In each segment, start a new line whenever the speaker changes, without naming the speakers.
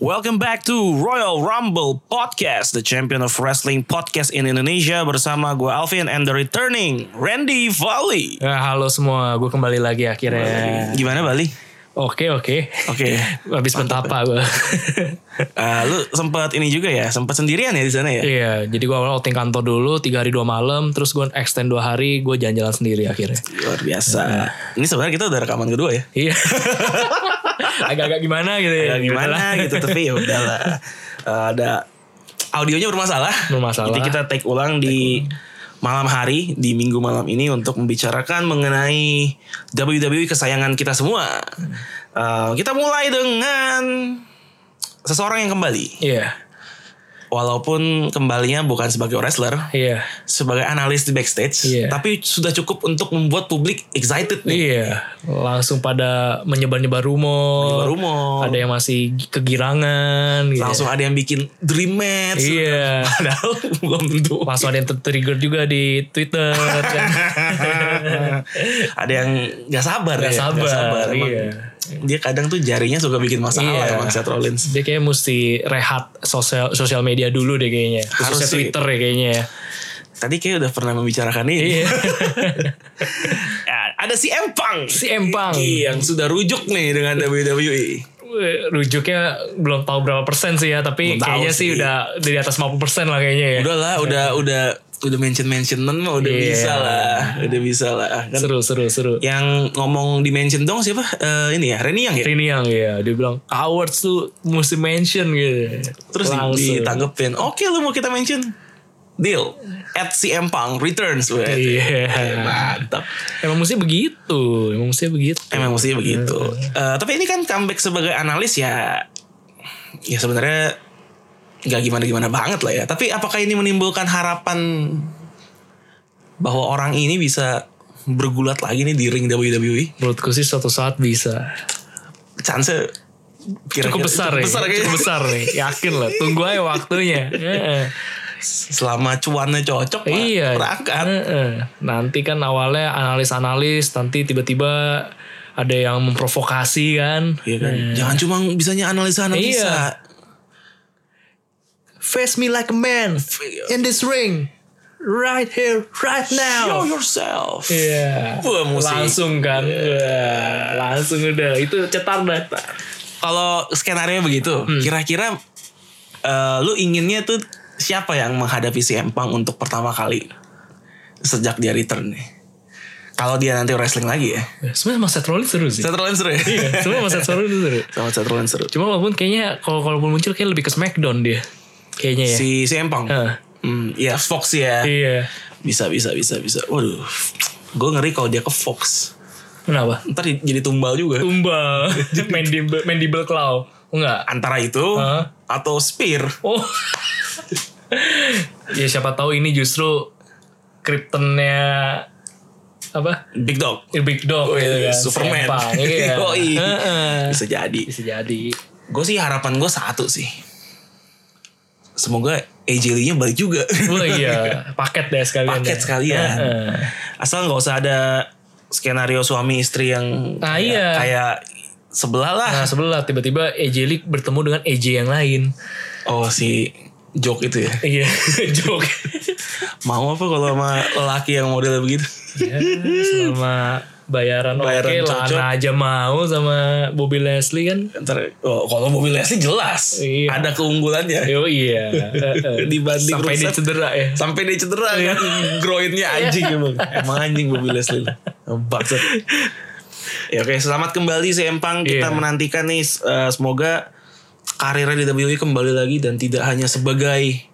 Welcome back to Royal Rumble Podcast, the champion of wrestling podcast in Indonesia bersama gue Alvin and the returning Randy Valley.
Eh, halo semua, gue kembali lagi akhirnya.
Gimana Bali?
Oke oke.
Oke.
Habis mentapa gue.
Eh, lu sempat ini juga ya, sempat sendirian ya di sana ya?
Iya, jadi gue awal outing kantor dulu tiga hari dua malam, terus gue extend dua hari, gue jalan-jalan sendiri akhirnya.
Luar biasa. Ini sebenarnya kita udah rekaman kedua ya.
Iya. Agak-agak gimana gitu
Ya,
ya?
gimana gitu tapi ya udahlah. Eh, ada audionya bermasalah.
Bermasalah.
Jadi kita take ulang di malam hari di minggu malam ini untuk membicarakan mengenai WWE kesayangan kita semua. Eh, kita mulai dengan seseorang yang kembali.
Iya.
Walaupun kembalinya bukan sebagai wrestler,
Iya.
sebagai analis di backstage,
Iya.
tapi sudah cukup untuk membuat publik excited nih.
Iya, langsung pada menyebar-nyebar
Menyebar
rumor.
rumor.
Ada yang masih kegirangan gitu.
Langsung ada yang bikin dream match.
Iya.
Padahal belum tentu.
Langsung ada yang tertrigger juga di Twitter. kan.
ada yang nggak sabar
Nggak
ya,
sabar,
Emang
iya.
dia kadang tuh jarinya suka bikin masalah
Iya.
emang Seth Rollins
Dia kayaknya mesti rehat sosial sosial media dulu deh kayaknya.
Harus
Khususnya
sih.
Twitter ya kayaknya ya.
tadi kayak udah pernah membicarakan ini
Iya.
Ya, ada si Empang
Si Empang.
yang sudah rujuk nih dengan E. WWE
Rujuknya belum tahu berapa persen sih ya, tapi
Belum tahu
kayaknya sih.
sih.
udah di atas 50 persen lah kayaknya ya.
udah lah udah udah udah mention mentionan mah udah
Iya.
bisa lah udah bisa lah kan
Seru seru seru.
yang ngomong di mention dong siapa Eh, ini ya Reniang ya
Rini yang ya, dia bilang awards tuh mesti mention gitu.
terus di-
Langsung.
ditanggepin oke lu mau kita mention deal at si Empang returns weh.
Iya.
mantap
Emang mesti begitu, emang mesti begitu.
Emang mestinya begitu. Eh,
Iya
tapi ini kan comeback sebagai analis ya, ya sebenarnya nggak gimana-gimana banget lah ya. Tapi apakah ini menimbulkan harapan bahwa orang ini bisa bergulat lagi nih di ring WWE?
Menurutku sih suatu saat bisa.
Chance kira-kira
Cukup besar
Iya, cukup
ya.
besar kayaknya.
cukup besar nih. Yakin lah. Tunggu aja waktunya. Heeh.
Selama cuannya cocok, mah
iya.
berangkat.
Heeh. Nanti kan awalnya analis-analis, nanti tiba-tiba ada yang memprovokasi kan.
Iya kan? Jangan cuma bisanya analisa-analisa.
Iya. Face me like a man in this ring. Right here, right
Show
now.
yourself.
Iya.
Wah, musik.
Langsung kan. Wah, langsung udah. Itu cetar dah.
kalau skenario begitu, kira-kira eh, lu inginnya tuh siapa yang menghadapi si Empang untuk pertama kali sejak dia return nih? Kalau dia nanti wrestling lagi ya.
Sebenernya Mas Seth Rollins seru sih.
Seth Rollins seru ya?
Sebenernya Mas Seth Rollins seru.
Sama Seth Rollins seru.
Cuma walaupun kayaknya kalau kalau muncul kayak lebih ke Smackdown dia. Kayaknya ya.
Si si Empang.
Heeh.
Hmm, ya Fox ya.
Iya.
Bisa bisa bisa bisa. Waduh. Gue ngeri kalau dia ke Fox.
Kenapa?
Ntar jadi tumbal juga.
Tumbal. mandible, mandible claw. Enggak.
Antara itu
Hah?
atau Spear.
Oh. ya siapa tahu ini justru kryptonnya apa?
Big Dog.
Big Dog gitu kan.
Oh, iya, Superman.
Sempang, Iya.
Yoi.
Heeh.
Bisa jadi.
Bisa jadi.
Gue sih harapan gue satu sih. Semoga AJ Lee-nya balik juga.
Oh iya, paket deh sekalian.
Paket
deh.
sekalian.
Heeh.
Asal nggak usah ada skenario suami istri yang
Ah,
kayak,
iya.
kayak sebelah lah.
Nah sebelah tiba-tiba AJ Lee bertemu dengan AJ yang lain.
Oh si joke itu ya.
Iya, joke.
Mau apa kalau sama lelaki yang model begitu?
ya, selama bayaran,
Bayaran
oke
cocok.
Lana aja mau sama Bobby Leslie kan.
Ntar oh, kalau Bobby Leslie jelas
Iya.
ada keunggulannya
Yo iya. Eh, eh.
Dibanding
sampai
rusak.
dia cedera ya.
sampai dia cedera kan
Iya.
groinnya anjing emang emang anjing Bobby Leslie lah. bangsat ya oke selamat kembali si Empang kita
Iya.
menantikan nih eh, semoga karirnya di WWE kembali lagi dan tidak hanya sebagai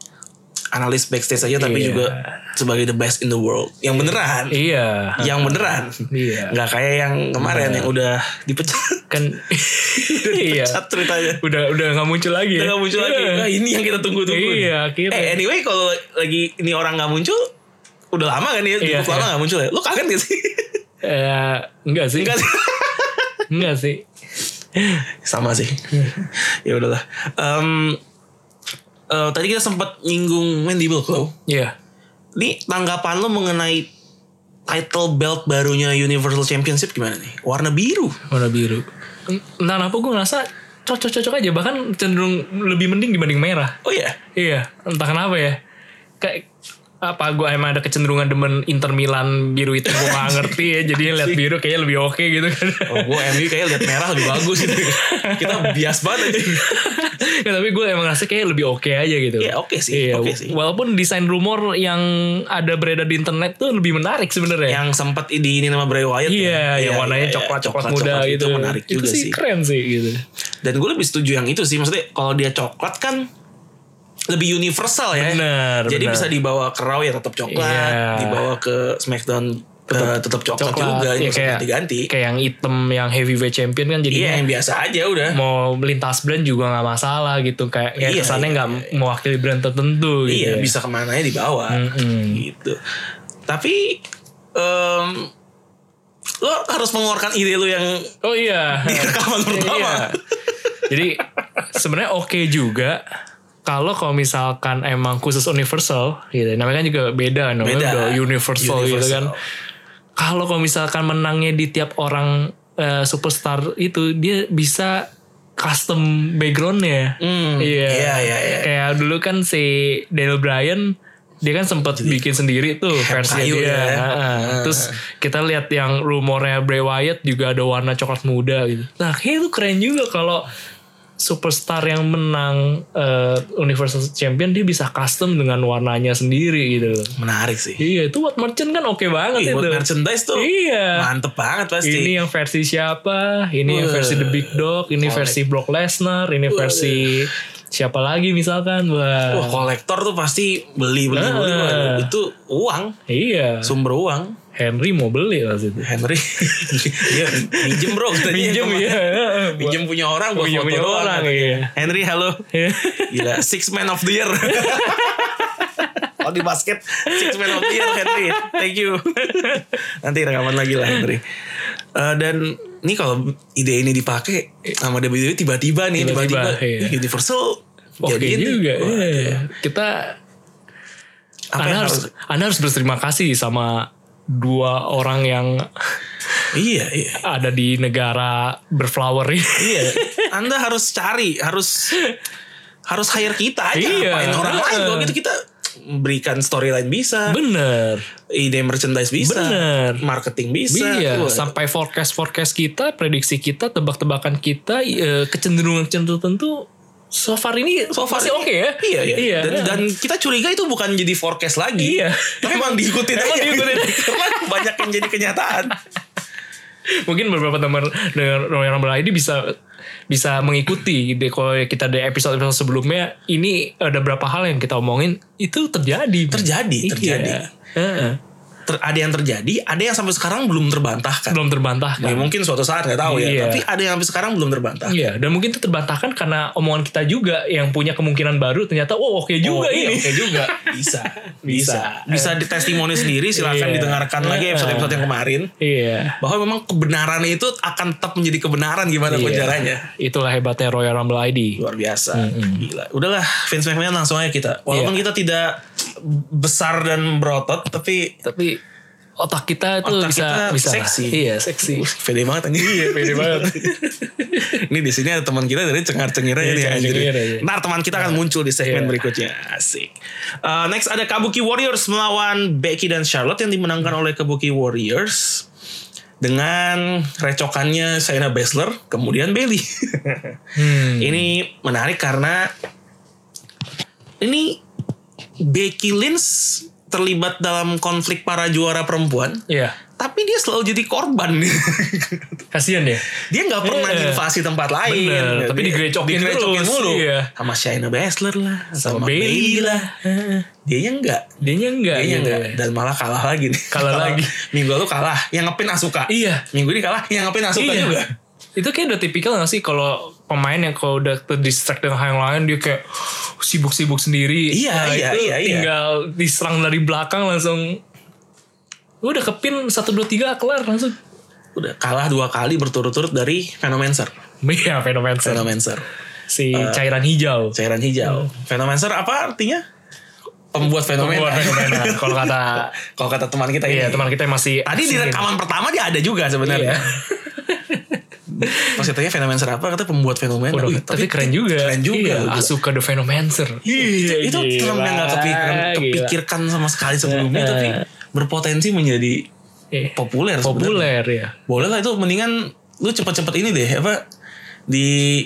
analis backstage saja tapi
Iya.
juga sebagai the best in the world yang beneran
Iya.
yang beneran
Iya.
nggak kayak yang kemarin yang udah dipecat
Kan iya.
Pecat ceritanya
Udah udah nggak muncul lagi.
Udah
ya.
nggak muncul lagi.
Iya.
Nah, ini yang kita tunggu-tunggu. nih.
Iya, akhirnya.
Eh, anyway kalau lagi ini orang nggak muncul, udah lama kan ya,
Iya,
cukup lama
iya.
nggak muncul ya. Lo kaget gak sih?
Eh, enggak sih.
Enggak sih.
Enggak sih.
Sama sih. ya udahlah. Em, eh, tadi kita sempat nyinggung Mandible Claw.
Iya.
Ini tanggapan lo mengenai title belt barunya Universal Championship gimana nih? Warna biru.
Warna biru. Entah kenapa gue Nah, ngerasa cocok-cocok aja bahkan cenderung lebih mending dibanding merah
Oh iya.
iya entah kenapa ya kayak apa gue emang ada kecenderungan demen Inter Milan biru itu gue gak ngerti ya jadi lihat biru kayaknya lebih oke gitu kan
Oh, gue MU kayak lihat merah lebih bagus gitu. Kita bias banget aja.
ya, tapi gue emang ngerasa kayak lebih oke aja gitu
Iya, oke sih,
Iya,
oke sih.
walaupun desain rumor yang ada beredar di internet tuh lebih menarik sebenarnya
Yang sempat di ini nama Bray Wyatt. ya.
Eh. Iya, yang
Iya,
warnanya
iya, iya.
coklat-coklat muda
Coklat-coklat
gitu.
Itu menarik juga sih.
keren sih gitu.
Dan gue lebih setuju yang itu sih. Maksudnya kalau dia coklat kan lebih universal ya.
Benar,
Jadi
benar.
bisa dibawa ke Raw ya tetap coklat,
Iya.
dibawa ke SmackDown tetap, tetap coklat, juga, ya,
ya, kayak
ganti-ganti.
Kayak yang item yang heavyweight champion kan
Iya,
jadinya
yang biasa aja udah.
mau lintas brand juga nggak masalah gitu kayak kayak
Iya,
kesannya
iya,
nggak mewakili brand tertentu gitu.
Iya
ya.
bisa kemana ya dibawa gitu. Tapi em, lo harus mengeluarkan ide lo yang
Oh iya.
di rekaman pertama.
Iya. Jadi sebenarnya oke juga kalau kalau misalkan emang khusus universal gitu. Namanya kan juga beda namanya
Beda.
udah universal, gitu kan.
Universal.
Kalau kalau misalkan menangnya di tiap orang eh, superstar itu dia bisa custom backgroundnya.
Hmm,
Iya.
iya, iya, iya.
Kayak dulu kan si Daniel Bryan dia kan sempat bikin sendiri tuh versi
kayu
dia.
ya.
Heeh. Terus kita lihat yang rumornya Bray Wyatt juga ada warna coklat muda gitu. Nah, kayak itu keren juga kalau superstar yang menang eh, Universal Champion dia bisa custom dengan warnanya sendiri gitu loh.
Menarik sih.
Iya, itu buat merchant kan oke banget
Ih,
itu.
Buat merchandise tuh
Iya.
mantep banget pasti.
Ini yang versi siapa? Ini yang versi The Big Dog, ini versi Brock Lesnar, ini versi siapa lagi misalkan? Wah.
Wah kolektor tuh pasti beli beli beli. Waduh,
Ah.
Itu uang
Iya.
sumber uang.
Henry mau beli lah situ.
Henry
Iya.
dia minjem bro katanya
Pinjem
kemarin.
ya.
Minjem punya orang buat
Pinjem
foto
punya
doang.
orang iya.
Henry halo.
Iya.
Gila, six man of the year. Kalau Oh, di basket, six man of the year Henry. Thank you. Nanti rekaman lagi lah Henry. Eh, dan ini kalau ide ini dipakai sama WWE tiba-tiba nih,
Tiba-tiba,
tiba-tiba,
iya.
ih, Universal
Oke
jadiin nih.
juga.
Wah,
iya. Kita
Apa
anda
yang
harus,
harus?
Anda harus berterima kasih sama dua orang yang
Iya, iya.
ada di negara berflower ini.
Iya. Anda harus cari, harus harus hire kita aja.
Iya.
Ngapain orang lain kalau
Heeh.
gitu kita berikan storyline bisa,
Bener.
ide merchandise bisa,
Bener.
marketing bisa.
Iya,
Wah,
sampai forecast forecast kita, prediksi kita, tebak-tebakan kita, eh, kecenderungan kecenderungan tentu so far ini so
far
masih
ini-
oke ya.
Iya, iya.
iya.
dan, dan kita curiga itu bukan jadi forecast lagi.
Iya.
Tapi emang diikutin
Emang
aja.
diikutin.
Karena banyak yang jadi kenyataan.
Mungkin beberapa teman dengan orang lain ini bisa bisa mengikuti gitu. kalau kita di episode episode sebelumnya ini ada berapa hal yang kita omongin itu terjadi
Terjadi,
Iya.
terjadi.
Heeh.
Ter- ada yang terjadi, ada yang sampai sekarang belum terbantahkan.
belum
Ya,
terbantahkan
mungkin suatu saat nggak tahu
Iya.
ya. Tapi ada yang sampai sekarang belum terbantah.
Iya, dan mungkin itu terbantahkan karena omongan kita juga yang punya kemungkinan baru ternyata oh oke
Oh,
juga
iya,
ini.
oke juga bisa,
Bisa.
bisa, bisa ditestimoni sendiri. Silahkan
Iya.
didengarkan lagi episode-episode yang kemarin.
Iya.
Bahwa memang kebenaran itu akan tetap menjadi kebenaran gimana pun
Iya.
caranya.
Itulah hebatnya Royal Rumble ID.
luar biasa gila udahlah Vince McMahon langsung aja kita walaupun
Iya.
kita tidak besar dan berotot tapi
Tapi otak kita itu
Otak
bisa
kita
bisa lah.
seksi.
Iya, seksi.
Uh, pede banget anjing iya
pede banget.
ini di sini ada teman kita dari cengar cengir aja
Iya,
nih anjing.
cengar-cengir aja.
ntar teman kita akan muncul di segmen
Iya.
berikutnya asik Uh, next ada Kabuki Warriors melawan Becky dan Charlotte yang dimenangkan oleh Kabuki Warriors dengan recokannya Shayna Baszler kemudian Bailey
Hmm.
Ini menarik karena ini Becky Lynch terlibat dalam konflik para juara perempuan,
Iya.
tapi dia selalu jadi korban.
Kasihan ya.
dia nggak pernah
Iya.
invasi tempat lain. kan?
Bener, tapi
Dia-
digerecokin terus,
mulu.
iya.
Sama Shayna Baszler lah, sama,
Bailey
Bailey lah. Dianya enggak.
Dianya enggak.
Dianya
gitu.
enggak. Dan malah kalah lagi nih.
Kalah lagi.
Minggu lalu kalah, yang ngepin Asuka.
Iya.
Minggu ini kalah, yang ngepin Asuka
Iya.
juga.
Itu kayak udah tipikal gak sih kalau pemain yang kalau udah terdistract dengan hal yang lain dia kayak sibuk-sibuk sendiri. Nah,
Iya, iya,
itu
iya, iya.
Tinggal diserang dari belakang langsung Lu udah kepin 1 2 3 kelar langsung.
Udah kalah dua kali berturut-turut dari Phenomancer.
Iya, fenomen
Phenomancer.
si
Eh,
cairan hijau.
cairan
Hmm.
hijau. Fenomancer apa artinya? Pembuat fenomena.
Pembuat fenomena. Kalau kata-
kalau kata teman kita ini.
Iya, teman kita yang masih
ya. Tadi di rekaman pertama dia ada juga sebenarnya. pas katanya Venomancer apa kata pembuat Venomen
Waduh,
Wih,
tapi, keren juga.
keren juga gitu. Gua-
Iya, Asuka the Venomancer.
Iya, itu
gila,
film yang gak kepikiran,
gila.
kepikirkan sama sekali sebelumnya,
Iya.
tapi berpotensi menjadi
Iya.
populer. sebenarnya.
populer ya.
Boleh lah itu mendingan lu cepet-cepet ini deh apa di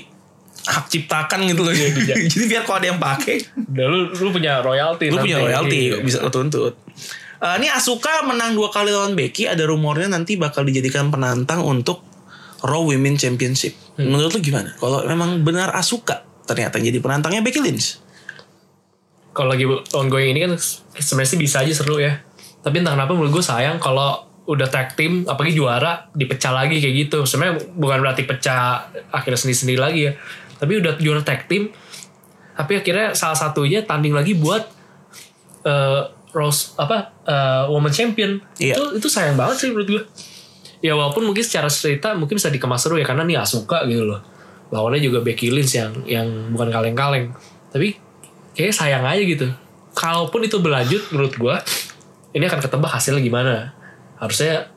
hak ciptakan gitu loh.
dijak.
Jadi biar kalau ada yang pakai,
Udah lu lu punya royalti.
lu punya
nanti.
royalti
Iya.
bisa lu tuntut. Eh, ini Asuka menang dua kali lawan Becky, ada rumornya nanti bakal dijadikan penantang untuk Raw Women Championship.
Hmm.
Menurut lu gimana? Kalau memang benar Asuka ternyata jadi penantangnya Becky Lynch.
Kalau lagi ongoing ini kan sebenarnya sih bisa aja seru ya. Tapi entah kenapa menurut gue sayang kalau udah tag team apalagi juara dipecah lagi kayak gitu. Sebenarnya bukan berarti pecah akhirnya sendiri-sendiri lagi ya. Tapi udah juara tag team tapi akhirnya salah satunya tanding lagi buat eh, Rose apa eh, Woman Champion
Iya.
itu itu sayang banget sih menurut gue ya walaupun mungkin secara cerita mungkin bisa dikemas seru ya karena nih Asuka gitu loh lawannya juga Becky Lynch yang yang bukan kaleng-kaleng tapi kayaknya sayang aja gitu kalaupun itu berlanjut menurut gue ini akan ketebak hasilnya gimana harusnya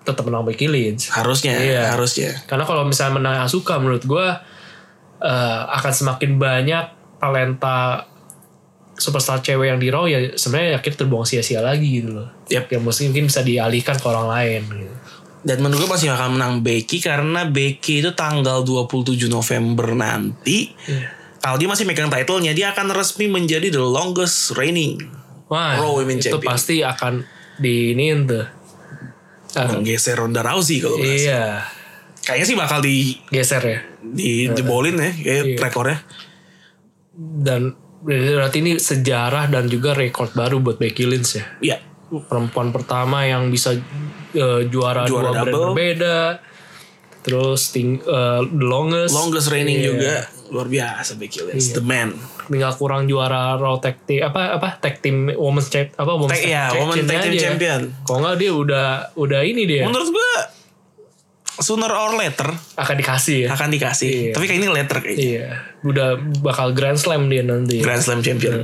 tetap menang Becky Lynch
Harusnya,
Iya.
harusnya.
karena kalau misalnya menang Asuka menurut gue eh, akan semakin banyak talenta superstar cewek yang di Raw ya sebenarnya akhirnya terbuang sia-sia lagi gitu loh.
Yap.
Yang mesti- mungkin bisa dialihkan ke orang lain. Gitu.
Dan menurut gue masih bakal menang Becky karena Becky itu tanggal 27 November nanti.
Iya.
Kalau dia masih megang title-nya, dia akan resmi menjadi the longest reigning.
Wah,
Raw Women
itu
Champion.
pasti akan diinin tuh. Ah,
Menggeser Ronda Rousey kalau nggak salah.
iya,
Kayaknya sih bakal di
geser ya.
dijebolin ya, kayak
Iya.
rekornya.
Dan berarti ini sejarah dan juga rekor baru buat Becky Lynch ya.
Iya.
perempuan pertama yang bisa eh, juara,
Juara
dua brand
double.
berbeda. Terus ting eh, the longest,
Longest reigning
Iya.
juga luar biasa Becky Lynch, the man.
tinggal kurang juara Raw tag team apa apa tag team women's champ apa women's
Tag ya, woman tag team
aja.
champion.
Kalau nggak dia udah udah ini dia
Menurut gue sooner or later
akan dikasih ya.
akan dikasih.
Iya.
Tapi kayaknya later kayaknya.
Iya, udah bakal grand slam dia nanti.
Grand Slam champion.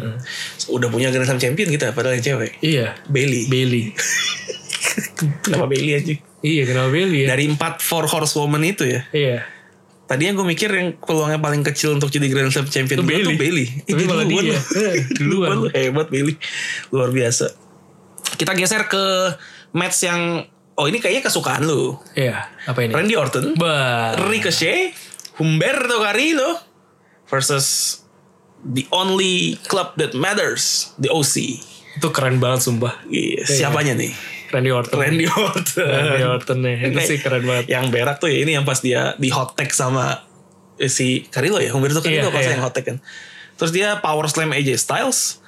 Udah punya Grand Slam champion kita padahal yang cewek.
Iya,
Bailey.
Bailey.
Kenapa Bailey aja?
iya, kenapa Bailey ya?
Dari empat four horsewoman itu ya.
Iya.
Tadinya gue mikir yang peluangnya paling kecil untuk jadi Grand Slam Champion
Itu
dulu tuh
Bailey.
Bailey. Eh,
Tapi malah
duluan lu.
dia. Eh,
duluan
duluan.
lu. hebat Bailey. Luar biasa. Kita geser ke match yang oh ini kayaknya kesukaan lu.
Iya, apa ini?
Randy Orton,
Bar.
Ricochet, Humberto Carrillo versus the only club that matters, the OC.
Itu keren banget sumpah.
Iya, siapanya nih?
Randy Orton.
Randy Orton.
Randy Orton nih. Itu sih keren banget.
Yang berak tuh ya ini yang pas dia di hot tag sama eh, si Carrillo ya, Humberto Carrillo
Iya,
pas
iya.
yang hot tag kan. Terus dia power slam AJ Styles.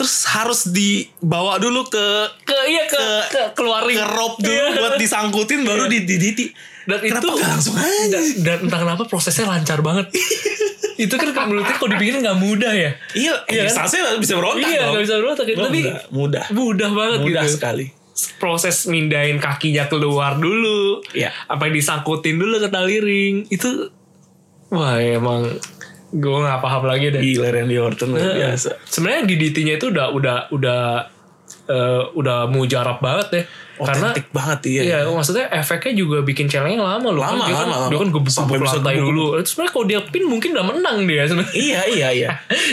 Terus harus dibawa dulu ke
Ke iya ke, ke keluar ring.
ke rope dulu buat disangkutin baru di diditi.
Iya. Dan
Kenapa
itu
nggak langsung aja?
dan, dan entah kenapa prosesnya lancar banget. itu kan menurutnya kalau dibikin nggak mudah ya.
Iya,
Iya
AJ
kan?
Styles bisa berontak
iya,
dong.
nggak bisa berontak.
Nggak
Tapi
mudah, mudah.
mudah banget
Mudah
gitu.
sekali.
Proses mindahin kakinya keluar dulu.
Iya.
Apa yang disangkutin dulu ke tali ring. Itu wah emang gue nggak paham lagi deh.
Gila Randy Orton Iya, luar
Heeh.
biasa.
Sebenarnya DDT-nya itu udah udah udah eh, udah mujarab banget ya. Karena
Otentik banget iya.
Iya, maksudnya efeknya juga bikin challenge lama loh.
Lama,
kan, dia
lama,
kan,
lama.
Dia kan gebuk
Sampai
gebuk
bisa
lantai
gebuk.
dulu. Itu sebenarnya kalau dia pin mungkin udah menang dia sebenarnya.
Iya, iya, iya.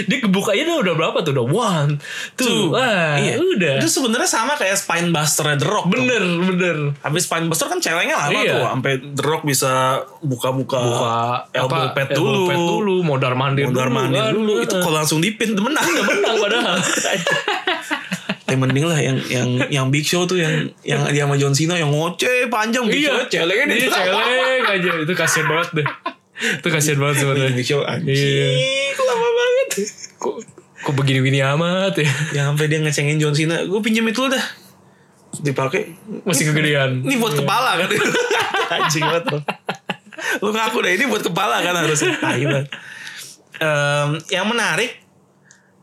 dia gebuk aja tuh udah berapa tuh? Udah one, two, wah,
iya.
udah.
Itu sebenarnya sama kayak Spine Buster The Rock. tuh.
Bener, bener.
Habis Spine Buster kan ceweknya lama
Iya.
tuh, sampai The Rock bisa buka-buka
Buka
elbow
apa,
pad eh, dulu,
pad dulu, modar mandir
mondar
dulu.
mandir
kan.
dulu. Itu kalau langsung dipin menang nggak menang.
menang padahal. Ya,
Tapi mending lah yang yang yang Big Show tuh yang yang dia sama John Cena yang ngoceh panjang Big Show celengin
Iya,
itu.
celeng aja. Itu kasihan banget deh. Itu kasihan banget sebenarnya.
Big Show Iya. anjing lama banget.
Kok, kok begini-begini amat ya?
Yang sampai dia ngecengin John Cena, gue pinjam itu lu dah. Dipakai.
Masih kegedean.
Ini buat kepala kan. anjing banget. lu. Lu ngaku deh ini buat kepala kan harusnya. Tai banget. Em, yang menarik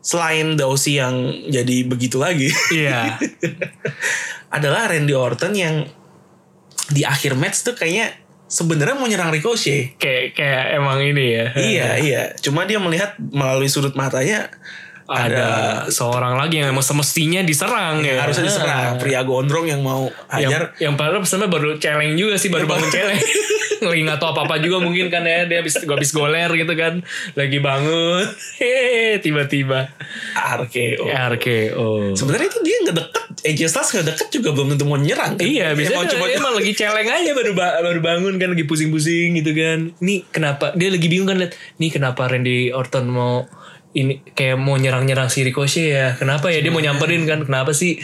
selain Dawsi yang jadi begitu lagi
Iya.
adalah Randy Orton yang di akhir match tuh kayaknya sebenarnya mau nyerang Ricochet.
Kayak kayak emang ini ya.
iya, iya. Cuma dia melihat melalui sudut matanya
ada seorang lagi yang emang semestinya diserang
Iya,
ya.
harusnya diserang pria gondrong yang mau
Yang,
hajar
yang padahal sebenarnya baru celeng juga sih baru bangun celeng. lagi nggak tahu apa-apa juga mungkin kan ya dia habis gua habis goler gitu kan lagi bangun hehehe tiba-tiba Oh. Ya,
RKO.
Iya. RKO
Oh. Sebenarnya itu dia nggak deket, AJ Styles nggak deket juga belum tentu mau nyerang. kan?
Iya, biasanya
Emang
dia
cuma
emang lagi celeng aja baru ba- baru bangun kan lagi pusing-pusing gitu kan. Nih kenapa dia lagi bingung kan lihat nih kenapa Randy Orton mau ini kayak mau nyerang-nyerang si Ricochet ya. Kenapa ya dia mau nyamperin kan? Kenapa sih?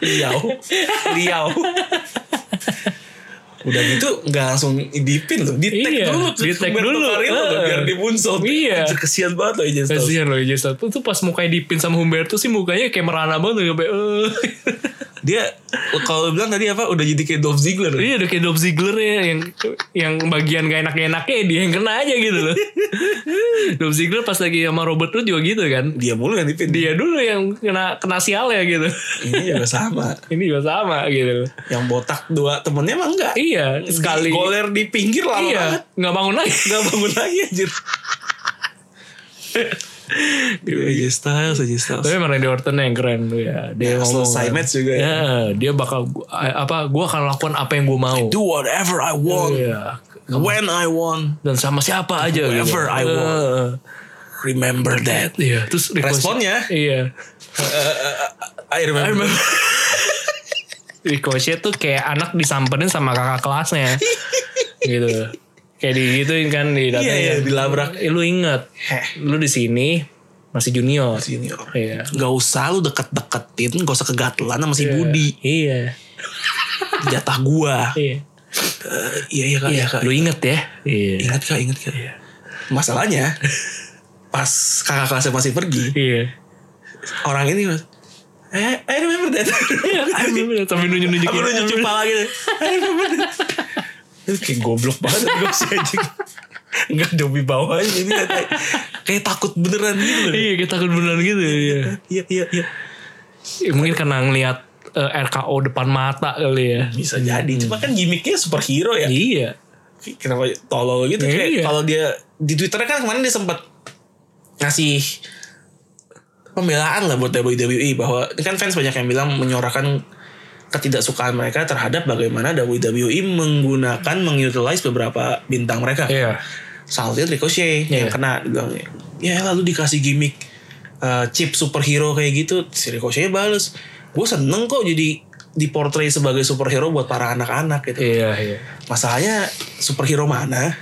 liau, liau. Udah gitu nggak langsung dipin loh, di tag
Iya,
dulu,
di-tag
Humberto
dulu.
Carrillo loh,
Heeh.
biar dibunsot.
Iya.
Anjir, Kesian banget loh AJ Styles.
Kasihan loh iya, AJ Styles. Tuh pas mukanya dipin sama Humberto sih mukanya kayak merana banget kayak eh.
Dia kalau bilang tadi apa udah jadi kayak Dolph Ziggler.
Iya udah kayak Dolph Ziggler ya yang yang bagian gak enak-enaknya dia yang kena aja gitu loh. Dolph Ziggler pas lagi sama Robert Roode juga gitu kan.
Dia mulu yang dipin.
dia dulu yang kena kena sial ya gitu
Ini juga sama.
ini juga sama gitu
Yang botak dua temennya emang enggak.
iya sekali
Goler di pinggir lama banget.
iya nggak bangun lagi
Gak bangun lagi anjir. AJ Iya, Styles, AJ Styles.
tapi emang Randy Orton yang keren tuh ya
Ya,
dia ngomong
selesai
kan.
match juga ya.
ya dia bakal gua- apa gua akan lakukan apa yang gua mau
Do whatever I want.
Iya.
When I want.
dan sama siapa aja gitu.
Whoever I want.
Eh,
Remember that.
iya terus Ricochet-
Responnya?
iya
I remember.
Ricochet tuh kayak anak disamperin sama kakak kelasnya gitu kayak digituin kan di
Iya, iya, dilabrak.
Eh, lu inget lu di sini masih junior
Junior.
iya
Gak oh. usah lu deket-deketin, gak usah kegatelan sama si Budi.
iya
Jatah gua.
iya
Eh, iya, iya kak, iya kak.
lu inget ya iya
Ingat kak, ingat kak. Masalahnya, pas kakak kelasnya masih pergi,
iya
orang ini mas, eh, I remember that.
tapi nunjuk nunjukin
Aku nunjuk kepala gitu. I remember that. Itu kayak goblok banget. Gak usah aja. Gak dobi bawahnya. Ini kayak, kayak takut beneran gitu loh.
iya kita takut beneran gitu iya
Iya, iya, iya.
Ya, mungkin karena ngelihat eh, RKO depan mata kali ya
Bisa jadi. Cuma kan gimmicknya superhero ya.
iya
kenapa tolol gitu
Iya.
kayak kalau dia di twitternya kan kemarin dia sempat ngasih pembelaan lah buat WWE bahwa ini kan fans banyak yang bilang menyorakan ketidaksukaan mereka terhadap bagaimana WWE menggunakan mengutilize beberapa bintang mereka
iya
Salty Ricochet yang
Iya.
kena bilang ya lalu dikasih gimmick eh, chip superhero kayak gitu si Ricochet bales gue seneng kok jadi diportray sebagai superhero buat para anak-anak gitu
iya iya
masalahnya superhero mana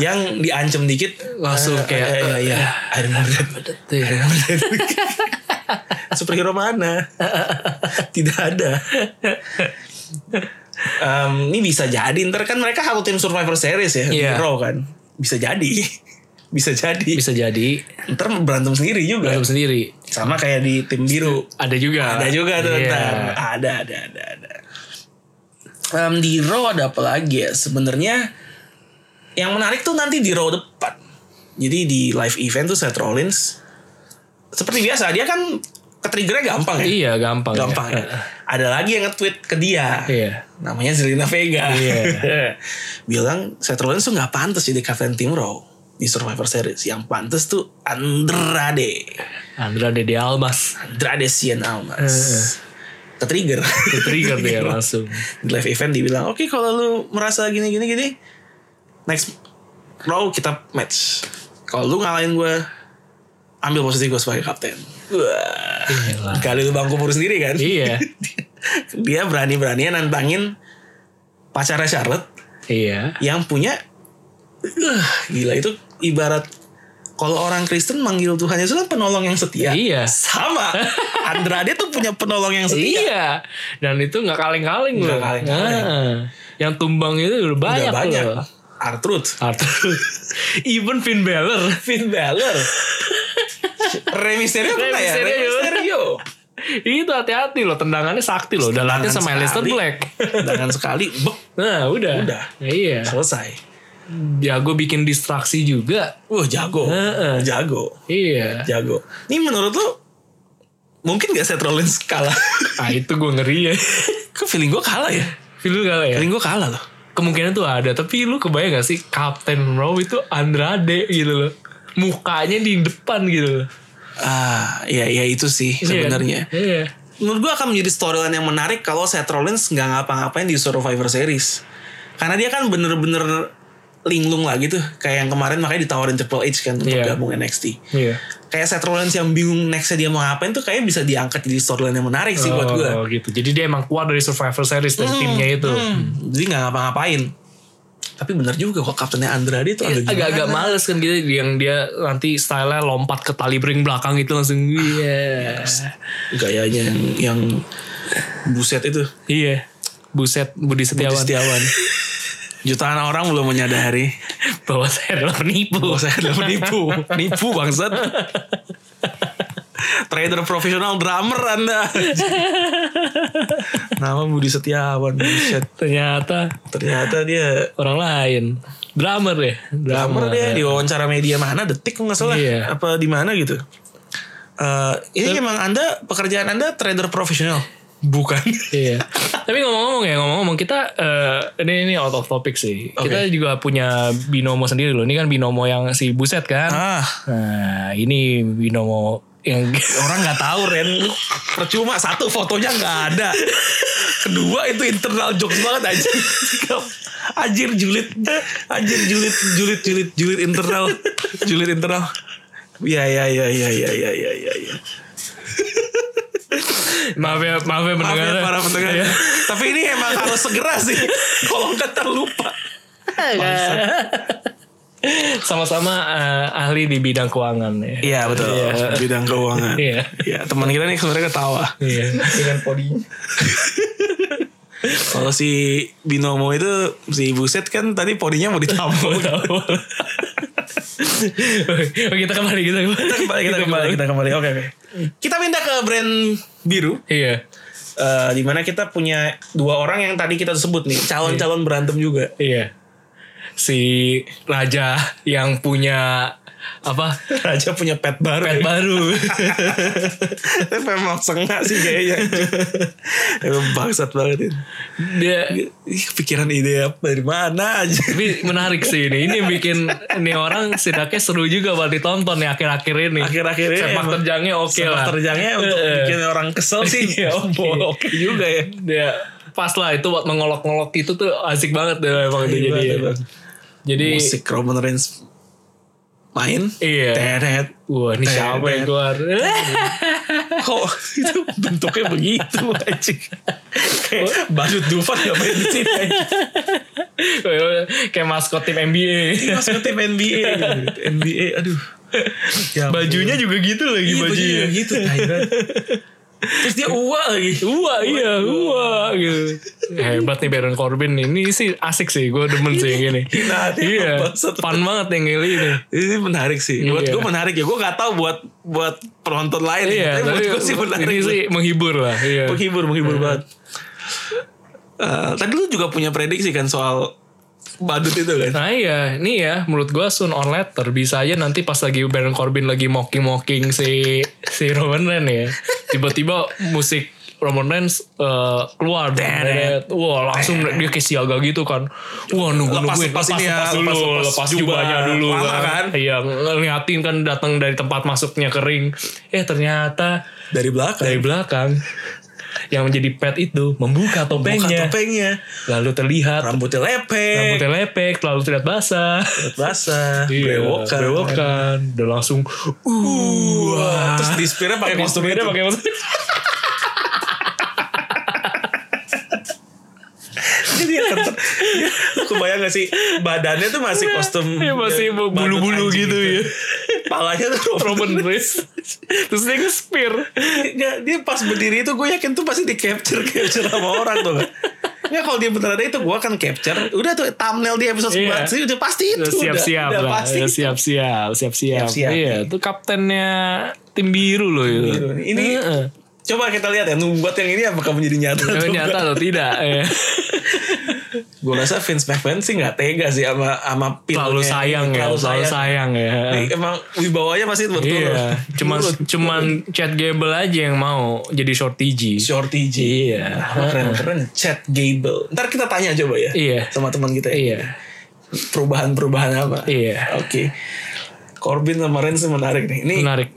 yang diancam dikit
Langsung
eh,
kayak, "Oh,
eh, iya, iya, I remember that. I
Iya.
remember that. superhero mana tidak ada Em, ini bisa jadi ntar kan mereka satu tim Survivor Series ya di
Iya.
Raw kan bisa jadi bisa jadi
bisa Iya. jadi
ntar berantem sendiri juga
berantem sendiri
sama kayak di tim biru
ada juga
Iya. ada juga tuh
Iya.
ntar. Ada ada ada ada. Em, di Raw ada apa lagi ya? Sebenarnya yang menarik tuh nanti di Raw depan. Jadi di live event tuh Seth Rollins seperti biasa dia kan ketriggernya gampang ya.
Iya gampang.
Gampang ya. Ada lagi yang nge-tweet ke dia.
Iya.
Namanya Zelina Vega.
Iya.
Bilang Seth Rollins tuh nggak pantas jadi kapten tim Raw di Survivor Series. Yang pantas tuh Andrade.
Andra Dede Almas
Andrade Cien Almas.
Heeh.
Ketrigger.
trigger
Iya.
dia langsung.
Di live event dibilang, oke kalau lu merasa gini gini gini, next row kita match. Kalau lu ngalahin gue, ambil posisi gue sebagai kapten. Wah.
Gila.
Kali lu bangku buru sendiri kan?
iya.
Dia berani-beranian nantangin pacarnya Charlotte
Iya.
yang punya Wah, gila itu ibarat kalau orang Kristen manggil Tuhan Yesus kan penolong yang setia.
Iya.
Sama. Andrade tuh punya penolong yang setia.
Iya. Dan itu nggak kaleng-kaleng
Nggak
loh.
kaleng-kaleng.
Ah. Yang tumbang itu udah banyak,
Udah banyak.
loh.
Artrud.
Arthur. Even Finn Balor.
Finn Balor. Rey Mysterio
Rey
pernah ya?
Mysterio.
Rey Mysterio.
itu hati-hati loh. Tendangannya sakti loh. Dan latihan sama
Tendangan
Leicester
sekali.
Black.
Dengan sekali, bek,
Nah udah.
Udah.
Iya.
selesai.
Jago bikin distraksi juga.
Wah, jago.
Heeh.
Jago.
Iya.
Jago. Ini menurut lu, mungkin gak Seth Rollins kalah?
Ah itu gue ngeri ya.
Kok feeling gue kalah ya?
Film kali ya.
Feeling gue kalah loh.
kemungkinan tuh ada tapi lu kebayang gak sih Kapten Raw itu Andrade gitu loh mukanya di depan gitu loh
Ah, ya, ya itu sih
Iya kan?
sebenarnya.
iya
menurut gue akan menjadi storyline yang menarik kalau Seth Rollins nggak ngapa-ngapain di Survivor Series. Karena dia kan bener-bener linglung lagi tuh. Kayak yang kemarin makanya ditawarin Triple H kan untuk
Iya.
gabung NXT.
Iya.
Kayak Seth Rollins yang bingung nextnya dia mau ngapain tuh kayaknya bisa diangkat jadi storyline yang menarik sih buat gue.
Oh, gitu. Jadi dia emang kuat dari Survivor Series dari timnya itu.
Hmm, jadi nggak ngapa-ngapain. Tapi bener juga kok kaptennya Andrade itu agak gimana.
Agak-agak males kan gitu yang dia nanti stylenya lompat ke tali bring belakang itu langsung iya.
Gayanya yang, yang buset itu.
Iya. Buset
Budi
Budi Setiawan
Setiawan. Jutaan orang belum menyadari
bahwa saya adalah penipu.
bahwa Oh, saya adalah penipu. Nipu bangsat. Trader profesional drummer Anda. Nama Budi Setiawan. buset.
Ternyata
Ternyata dia
orang lain. Drummer ya, drummer.
drummer dia di wawancara media mana detik kok nggak salah
Iya.
apa di mana gitu. Eh, ini memang Anda pekerjaan Anda trader profesional. Bukan.
Iya. Tapi ngomong-ngomong ya, ngomong-ngomong kita eh, ini ini out of topic sih.
Oke.
Kita juga punya binomo sendiri loh. Ini kan binomo yang si Buset kan.
ah,
Nah, ini binomo yang
orang nggak tahu Ren Lu percuma satu fotonya nggak ada kedua itu internal jokes banget anjir anjir julid anjir julid julid julid julid internal julid internal ya ya ya ya ya ya ya ya ya
maaf ya, maaf ya
maaf
pendengar.
ya para pendengar
Iya.
tapi ini emang harus segera sih kalau nggak terlupa Bangsat.
Sama-sama eh, ahli di bidang keuangan ya.
Iya betul bidang keuangan
Iya.
Iya, teman kita nih sebenarnya ketawa
Iya.
dengan podinya.
kalau si binomo itu si buset kan tadi podinya mau ditampol
Tahu. Oke, kita kembali gitu.
kita
kita kembali.
kembali kita kembali kita kembali oke oke kita pindah ke brand biru
Iya.
eh di mana kita punya dua orang yang tadi kita sebut nih calon-calon berantem juga
Iya. Si raja yang punya apa?
Raja punya pet baru
Pet baru.
Tapi memang sengak sih kayaknya Emang bangsat banget ini
Dia
Ih, Pikiran ide apa dari mana aja
tapi menarik sih ini. Ini yang bikin ini orang setidaknya seru juga buat ditonton ya akhir-akhir ini.
Akhir-akhir ini
sepak
emang-
terjangnya oke lah.
Sepak terjangnya untuk
Heeh.
bikin orang kesel sih
Iya,
Eh. oke
oke.
juga ya
Dia pas lah itu buat mengolok-ngolok itu tuh asik banget deh emang itu jadi.
Iya, Bang.
Jadi
Musik Roman Reigns main
Iya.
Teret.
Wah ini siapa yang keluar?
kok itu bentuknya begitu anjing kayak badut Dufan gak main di sini anjing.
Kayak maskot tim NBA.
Mas ke tim NBA gitu. NBA aduh ya, ampun.
Bajunya juga gitu lagi
Iya,
bajunya.
bajunya gitu tai banget. terus dia uwa lagi
Wah iya wah gitu. Hebat nih Baron Corbin nih. Ini sih asik sih gue demen sih yang gini.
Hina hati
iya.
bangsat.
Fun banget yang ini. nih.
ini menarik sih buat
Iya.
gue menarik ya gue gak tahu buat buat penonton lain ya.
Iya,
buat
tapi
gue sih menarik
ini sih menghibur lah. Iya.
menghibur menghibur banget Eh, tadi lu juga punya prediksi kan soal badut itu kan
Nah iya, ini ya menurut gue soon or later bisa aja nanti pas lagi Baron Corbin lagi mocking-mocking si si Roman Reigns ya. Tiba-tiba musik Roman Reigns eh, keluar
Deret.
Wah langsung dia kayak siaga gitu kan Wah nunggu-nungguin
Lepas- lepas ini ya,
dulu
lepas-
Lepas,
lepas
jubahnya
jubah.
dulu
Lama kan?
Iya ngeliatin kan datang dari tempat masuknya kering Eh ternyata
dari belakang
dari belakang Yang menjadi pet itu membuka
buka
topengnya
topengnya
Lalu terlihat
rambutnya lepek
rambutnya Iya, lepek Lalu terlihat basah
basah, brewokan.
brewokan. Udah langsung
Wah. Terus di spearnya pakai kostum
Kostumnya
itu.
dia pakai kostum.
Jadi dia tetep- dia- Iya, lu kebayang gak sih badannya tuh masih kostum
Iya,
eh,
masih bulu-bulu
badut anjing
gitu ya.
Palanya tuh
Roman Reigns. Terus dia nge-spear.
Nggak, dia pas berdiri itu gue yakin tuh pasti di capture capture sama orang tuh. Nggak kalau dia beneran ada itu gue akan capture. Udah tuh thumbnail di episode
Iya.
yeah. sih udah pasti itu.
Udah Siap-siap
udah, udah
lah.
pasti.
Udah Siap-siap. Siap-siap.
Siap-siap.
Iya. Itu kaptennya tim biru loh itu.
biru. Ini-
Heeh.
Coba kita lihat ya membuat yang ini apakah menjadi nyata atau
Tapi
enggak.
nyata loh tidak. Iya.
Gue rasa Vince McMahon sih nggak tega sih sama sama pinnya.
Terlalu sayang
Iya,
ya.
Terlalu
Terlalu
sayang.
sayang ya.
Ini Emang wibawanya pasti berturut.
Iya, cuman cuman Chad Gable aja yang mau jadi shorty G.
Shorty G.
Iya.
Apa keren-keren Chad Gable. Ntar kita tanya coba ya.
Iya.
Sama teman kita ya.
Iya,
Perubahan-perubahan apa.
Iya.
Oke. Corbin sama Reigns menarik nih. Ini
menarik.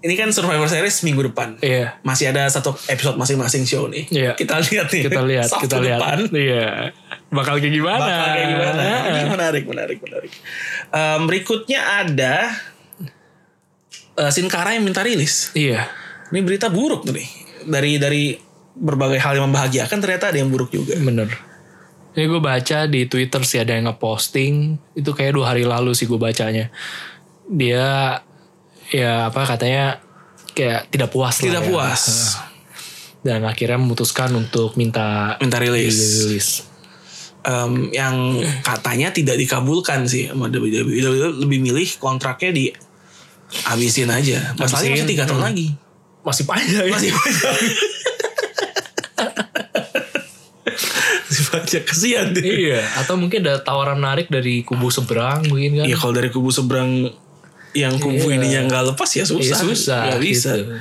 ini kan Survivor Series minggu depan.
Iya.
Masih ada satu episode masing-masing show nih.
Iya.
Kita lihat nih.
Kita lihat,
Sabtu
kita lihat.
depan.
Iya. Bakal kayak gimana?
Bakal kayak gimana? Nah, Ini menarik, menarik, menarik. Em, berikutnya ada eh, Sin Cara yang minta rilis.
Iya.
Ini berita buruk tuh nih. Dari dari berbagai hal yang membahagiakan ternyata ada yang buruk juga.
Bener. Ini gue baca di Twitter sih ada yang ngeposting. Itu kayak dua hari lalu sih gue bacanya. Dia ya apa katanya kayak tidak puas lah
Tidak
ya.
puas.
Dan akhirnya memutuskan untuk minta
Minta rilis.
rilis.
Em, yang katanya tidak dikabulkan sih sama WWE. Lebih milih kontraknya di habisin aja. Masalahnya
Habisin,
masih tiga tahun lagi.
Masih panjang. ya?
Masih banyak. Masih banyak kesian dia.
iya. Atau mungkin ada tawaran menarik dari kubu seberang mungkin kan.
Ya kalau dari kubu seberang yang kubu
Iya.
ininya nggak lepas ya susah.
Iya, susah.
Nggak bisa.
gitu.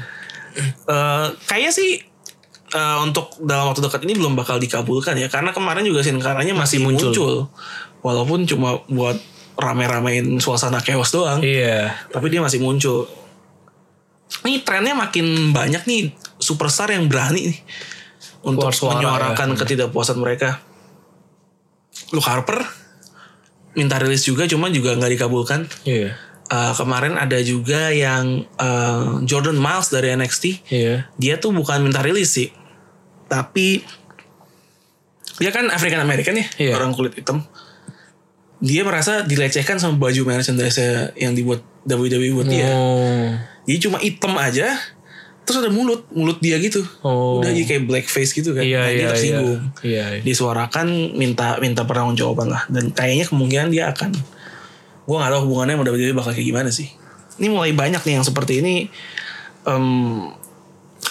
Eh, kayaknya sih eh, untuk dalam waktu dekat ini belum bakal dikabulkan ya karena kemarin juga sin karanya masih,
Masih
muncul.
muncul.
walaupun cuma buat rame-ramein suasana chaos doang
Iya.
tapi dia masih muncul ini trennya makin banyak nih superstar yang berani nih untuk
Keluar suara ya. Hmm.
menyuarakan ketidakpuasan mereka Luke Harper minta rilis juga cuman juga nggak dikabulkan
Iya.
Eh, kemarin ada juga yang eh, Jordan Miles dari NXT
Iya.
dia tuh bukan minta rilis sih tapi dia kan African American ya
Iya.
orang kulit hitam dia merasa dilecehkan sama baju merchandise yang dibuat WWE buat dia
Oh.
jadi cuma hitam aja terus ada mulut mulut dia gitu
Oh.
udah jadi kayak blackface gitu kan
Iya,
Nah, dia
iya, iya.
tersinggung
Iya, iya.
disuarakan minta minta pertanggungjawaban lah dan kayaknya kemungkinan dia akan gue nggak tahu hubungannya sama WWE bakal kayak gimana sih ini mulai banyak nih yang seperti ini Em,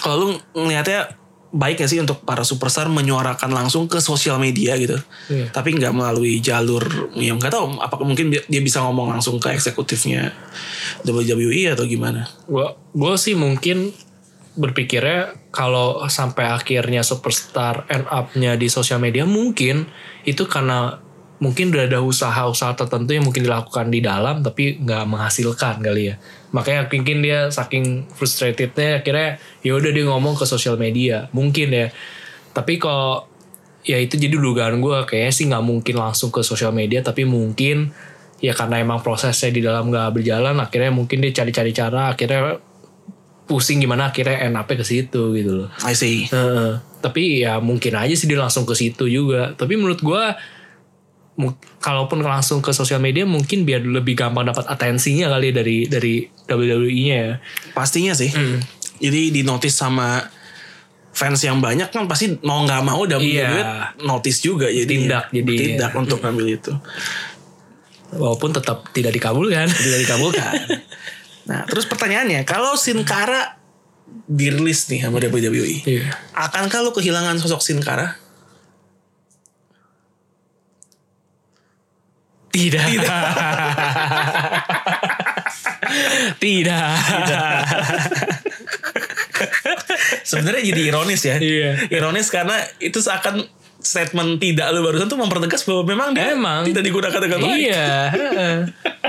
kalau lu ngeliatnya baik gak sih untuk para superstar menyuarakan langsung ke sosial media gitu
Iya.
tapi nggak melalui jalur yang nggak tahu apakah mungkin bi- dia bisa ngomong langsung ke eksekutifnya WWE atau gimana
gua gua sih mungkin berpikirnya kalau sampai akhirnya superstar end up-nya di sosial media mungkin itu karena mungkin udah ada usaha-usaha tertentu yang mungkin dilakukan di dalam tapi nggak menghasilkan kali ya makanya mungkin dia saking frustratednya akhirnya ya udah dia ngomong ke sosial media mungkin ya tapi kalau ya itu jadi dugaan gue kayaknya sih nggak mungkin langsung ke sosial media tapi mungkin ya karena emang prosesnya di dalam nggak berjalan akhirnya mungkin dia cari-cari cara akhirnya pusing gimana akhirnya enaknya ke situ gitu loh
I see
Heeh. tapi ya mungkin aja sih dia langsung ke situ juga tapi menurut gue kalaupun langsung ke sosial media mungkin biar lebih gampang dapat atensinya kali ya dari dari WWE-nya ya
Pastinya sih.
Hmm.
Jadi di notice sama fans yang banyak kan pasti mau nggak mau udah punya
Iya.
duit notice juga jadi
Tindak jadi.
tindak untuk ngambil itu
walaupun tetap tidak dikabulkan
tidak dikabulkan. nah terus pertanyaannya kalau Sin Cara dirilis nih sama WWE,
Iya.
akankah lo kehilangan sosok Sin Cara?
Tidak. Tidak. Tidak.
Sebenarnya jadi ironis ya.
Iya.
Ironis karena itu seakan statement tidak lo barusan tuh mempertegas bahwa memang dia
Emang.
tidak digunakan dengan baik.
Iya. heeh.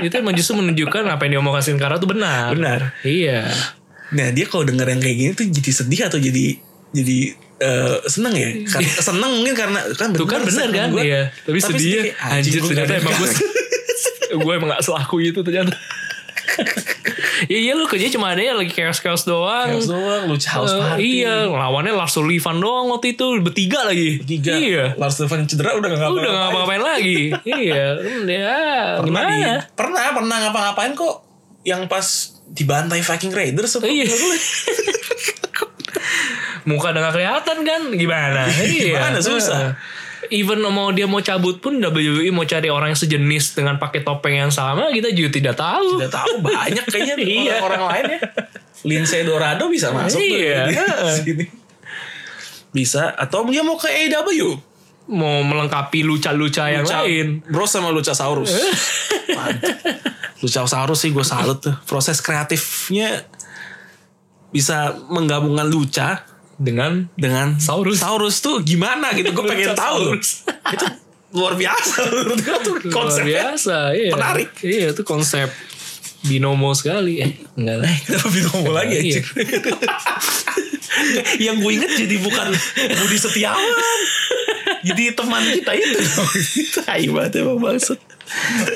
Itu emang justru menunjukkan apa yang diomongkan Sinkara itu benar.
Benar.
Iya.
Nah dia kalau denger yang kayak gini tuh jadi sedih atau jadi jadi eh, seneng ya? Kar- seneng mungkin karena kan bener,
Itu Iya. kan benar
statement
kan?
gua.
Iya. Tapi, sedihnya
kayak,
anjir
gua
ternyata
nggak
emang gue
ada-
gue emang gak selaku itu ternyata. Iya iya lu kerja cuma ada ya lagi chaos-chaos doang.
Chaos doang, lu house
Eh,
party.
iya, lawannya Lars Sullivan doang waktu itu bertiga lagi.
Tiga.
Iya.
Lars Stefan cedera udah gak ngapa-ngapain.
Udah gak ngapain lagi. iya. Ya,
Pernah di-
gimana?
Pernah, pernah ngapa-ngapain kok. Yang pas dibantai Viking Raiders. apa?
Iya. Muka udah gak kelihatan kan? Gimana? Iya.
Gimana? Susah.
Even mau dia mau cabut pun WWE mau cari orang yang sejenis dengan pakai topeng yang sama kita juga tidak tahu.
Udah tahu banyak kayaknya
Iya.
orang-orang lain ya. Lindsay Dorado bisa masuk tuh di-
Iya.
di sini. Bisa atau dia mau ke AEW.
Mau melengkapi luca-luca yang
Luca-
lain.
Bro sama Lucasaurus. Mantap. Lucasaurus sih gue salut tuh. Proses kreatifnya bisa menggabungkan luca
Dengan
dengan
Saurus.
Saurus tuh gimana gitu. Gue pengen tahu.
Lucasaurus.
Itu luar biasa menurut gue tuh
Luar
konsepnya.
biasa, iya.
ya? menarik.
Iya, itu konsep binomo sekali. Eh, enggak lah.
Kenapa binomo lagi anjing?
Iya.
Yang gue inget jadi bukan Budi Setiawan. jadi teman kita itu. Tai banget emang bangsat.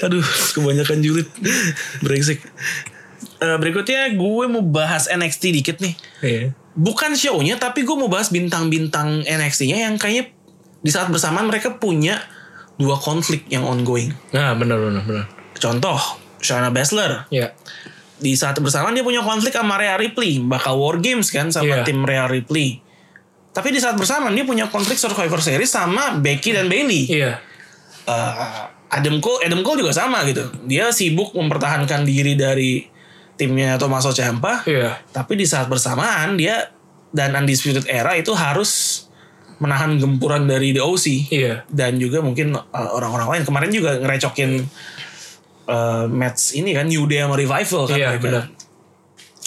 Aduh, kebanyakan julid. Brengsek. Eh, berikutnya gue mau bahas NXT dikit nih.
Iya.
Bukan show-nya tapi gue mau bahas bintang-bintang NXT-nya yang kayaknya di saat bersamaan mereka punya dua konflik yang ongoing.
Nah, benar benar benar.
Contoh, Shayna Baszler
Iya.
di saat bersamaan dia punya konflik sama Rhea Ripley bakal war games kan sama
Iya.
tim Rhea Ripley tapi di saat bersamaan dia punya konflik Survivor Series sama Becky dan Bailey Eh,
Iya.
Adam Cole Adam Cole juga sama gitu dia sibuk mempertahankan diri dari timnya Tommaso Ciampa
Iya.
tapi di saat bersamaan dia dan Undisputed Era itu harus menahan gempuran dari The OC
Iya.
dan juga mungkin uh, orang-orang lain kemarin juga ngerecokin uh, match ini kan New Day sama Revival kan
Iya,
mereka.
benar.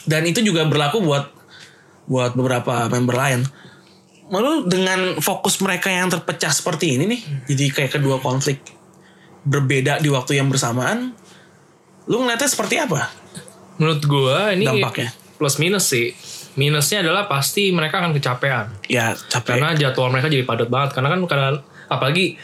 dan itu juga berlaku buat buat beberapa member lain lalu dengan fokus mereka yang terpecah seperti ini nih jadi kayak kedua konflik berbeda di waktu yang bersamaan lu ngeliatnya seperti apa
Menurut gua ini
Dampaknya.
plus minus sih. Minusnya adalah pasti mereka akan kecapean.
ya capek
karena jadwal mereka jadi padat banget karena kan karena apalagi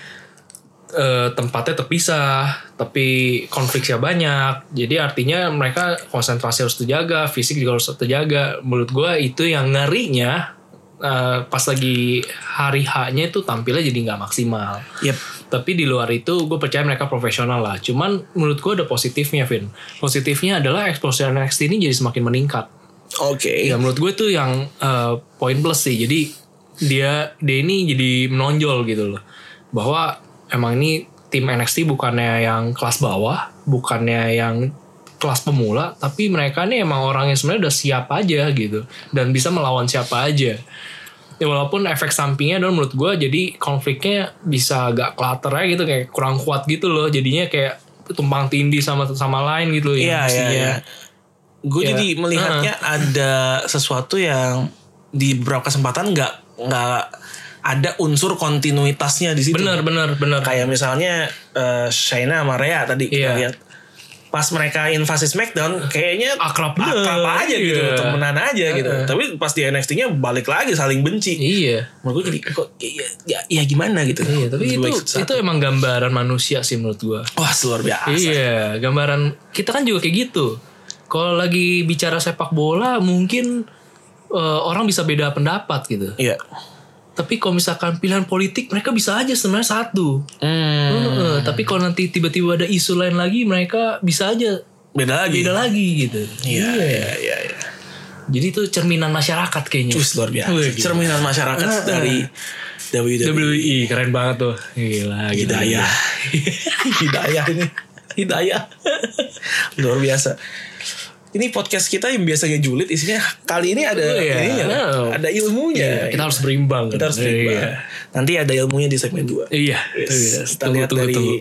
eh, tempatnya terpisah tapi konfliknya banyak jadi artinya mereka konsentrasi harus terjaga fisik juga harus terjaga menurut gue itu yang ngerinya eh, pas lagi hari H-nya itu tampilnya jadi nggak maksimal
Yep.
tapi di luar itu gue percaya mereka profesional lah cuman menurut gue ada positifnya Vin positifnya adalah exposure NXT ini jadi semakin meningkat
oke
Ya menurut gue tuh yang eh, poin plus sih. Jadi dia dia ini jadi menonjol gitu loh. Bahwa emang ini tim NXT bukannya yang kelas bawah, bukannya yang kelas pemula, tapi mereka nih emang orang yang sebenarnya udah siap aja gitu dan bisa melawan siapa aja. Ya, walaupun efek sampingnya adalah menurut gue jadi konfliknya bisa agak clutter aja gitu kayak kurang kuat gitu loh. Jadinya kayak tumpang tindih sama sama lain gitu loh.
Iya,
yang
iya,
mestinya.
iya. Gue
Ya.
jadi melihatnya ada sesuatu yang di beberapa kesempatan nggak nggak ada unsur kontinuitasnya di situ.
Bener bener bener.
Kayak misalnya eh, Shaina sama Rhea tadi kita
Iya.
lihat. Pas mereka invasi SmackDown kayaknya
Akrab
akrab
Ah, bener,
aja gitu,
iya.
temenan aja gitu. Tapi pas di NXT-nya balik lagi saling benci.
Iya.
Menurut gue jadi kok ya, ya, ya gimana gitu.
Iya, tapi itu
Lebih baik
itu
satu.
emang gambaran manusia sih menurut gua.
wah luar biasa.
Iya, gambaran kita kan juga kayak gitu. Kalau lagi bicara sepak bola mungkin eh, orang bisa beda pendapat gitu.
Iya.
Tapi kalau misalkan pilihan politik mereka bisa aja sebenarnya satu.
Hmm,
Eh, tapi kalau nanti tiba-tiba ada isu lain lagi mereka bisa aja
beda lagi.
beda lagi gitu.
Iya, iya, iya, iya.
Jadi itu cerminan masyarakat kayaknya.
Cus luar biasa.
Wih, gila. Ah,
Cerminan masyarakat dari WWE.
WWE keren banget tuh. Gila, gitu. gila.
Hidayah. Hidayah ini. Hidayah. luar biasa. Ini podcast kita yang biasanya julid isinya kali ini ada
Iya.
ininya,
Oh.
ada ilmunya.
Kita harus berimbang.
Iya, Kita harus terima.
Iya.
Nanti ada ilmunya di segmen 2.
Iya.
Yes. Kita
Tunggu,
lihat
tunggu,
dari
tunggu.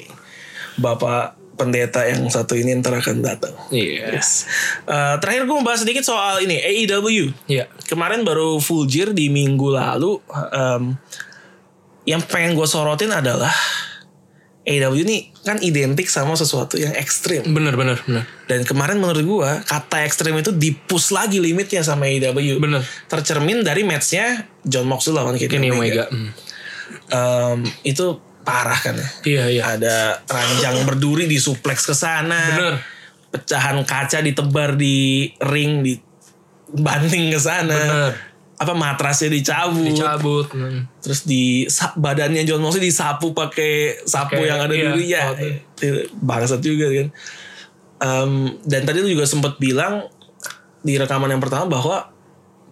Bapak pendeta yang satu ini ntar akan datang.
Iya.
Yes. Eh, terakhir gue mau bahas sedikit soal ini E AEW.
Iya.
kemarin baru full year di minggu lalu em, yang pengen gue sorotin adalah AEW ini kan identik sama sesuatu yang ekstrim
Bener bener bener.
dan kemarin menurut gue kata ekstrim itu dipus lagi limitnya sama AEW
Bener.
tercermin dari matchnya John Moxley lawan Kenny
Kenny
Omega
Omega. Hmm.
Em, itu parah kan ya
Iya iya.
ada ranjang berduri di suplex ke sana
Bener.
pecahan kaca ditebar di ring di banting ke sana
Bener.
apa matrasnya dicabut,
Dicabut. Hmm.
terus di sa- badannya John Moxley disapu pakai sapu
Pakai-
yang ada
iya,
durinya
waktu
Itu bangsat juga kan Em, dan tadi lu juga sempat bilang di rekaman yang pertama bahwa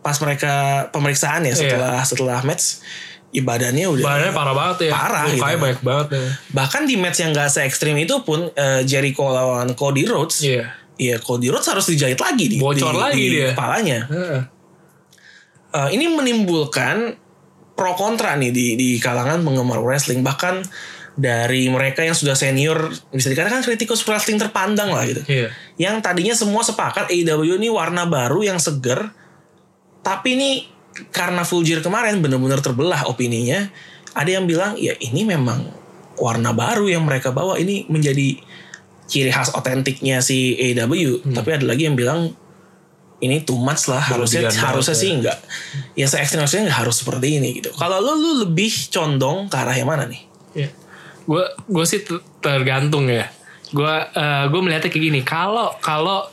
pas mereka pemeriksaan ya
Iya.
setelah setelah match ya badannya udah
Badannya parah banget ya.
Parah,
Lukanya
gitu.
banyak banget ya.
bahkan di match yang gak se ekstrim itu pun eh, Jericho lawan Cody Rhodes
Iya.
ya Cody Rhodes harus dijahit lagi di,
Bocor
di-
lagi
di
dia.
kepalanya
Heeh.
Eh, ini menimbulkan pro kontra nih di di kalangan penggemar wrestling bahkan dari mereka yang sudah senior bisa dikatakan kritikus wrestling terpandang lah gitu.
Iya.
Yang tadinya semua sepakat AEW ini warna baru yang seger tapi ini karena full year kemarin bener-bener terbelah opininya. Ada yang bilang ya ini memang warna baru yang mereka bawa ini menjadi ciri khas otentiknya si AEW tapi ada lagi yang bilang ini too much lah harusnya
Berlebihan banget
harusnya
ya.
sih enggak ya se ekstrim nggak harus seperti ini gitu kalau lu lu lebih condong ke arah yang mana nih
Gue gue Iya. sih ter- tergantung ya. Gue gue melihatnya kayak gini. Kalau kalau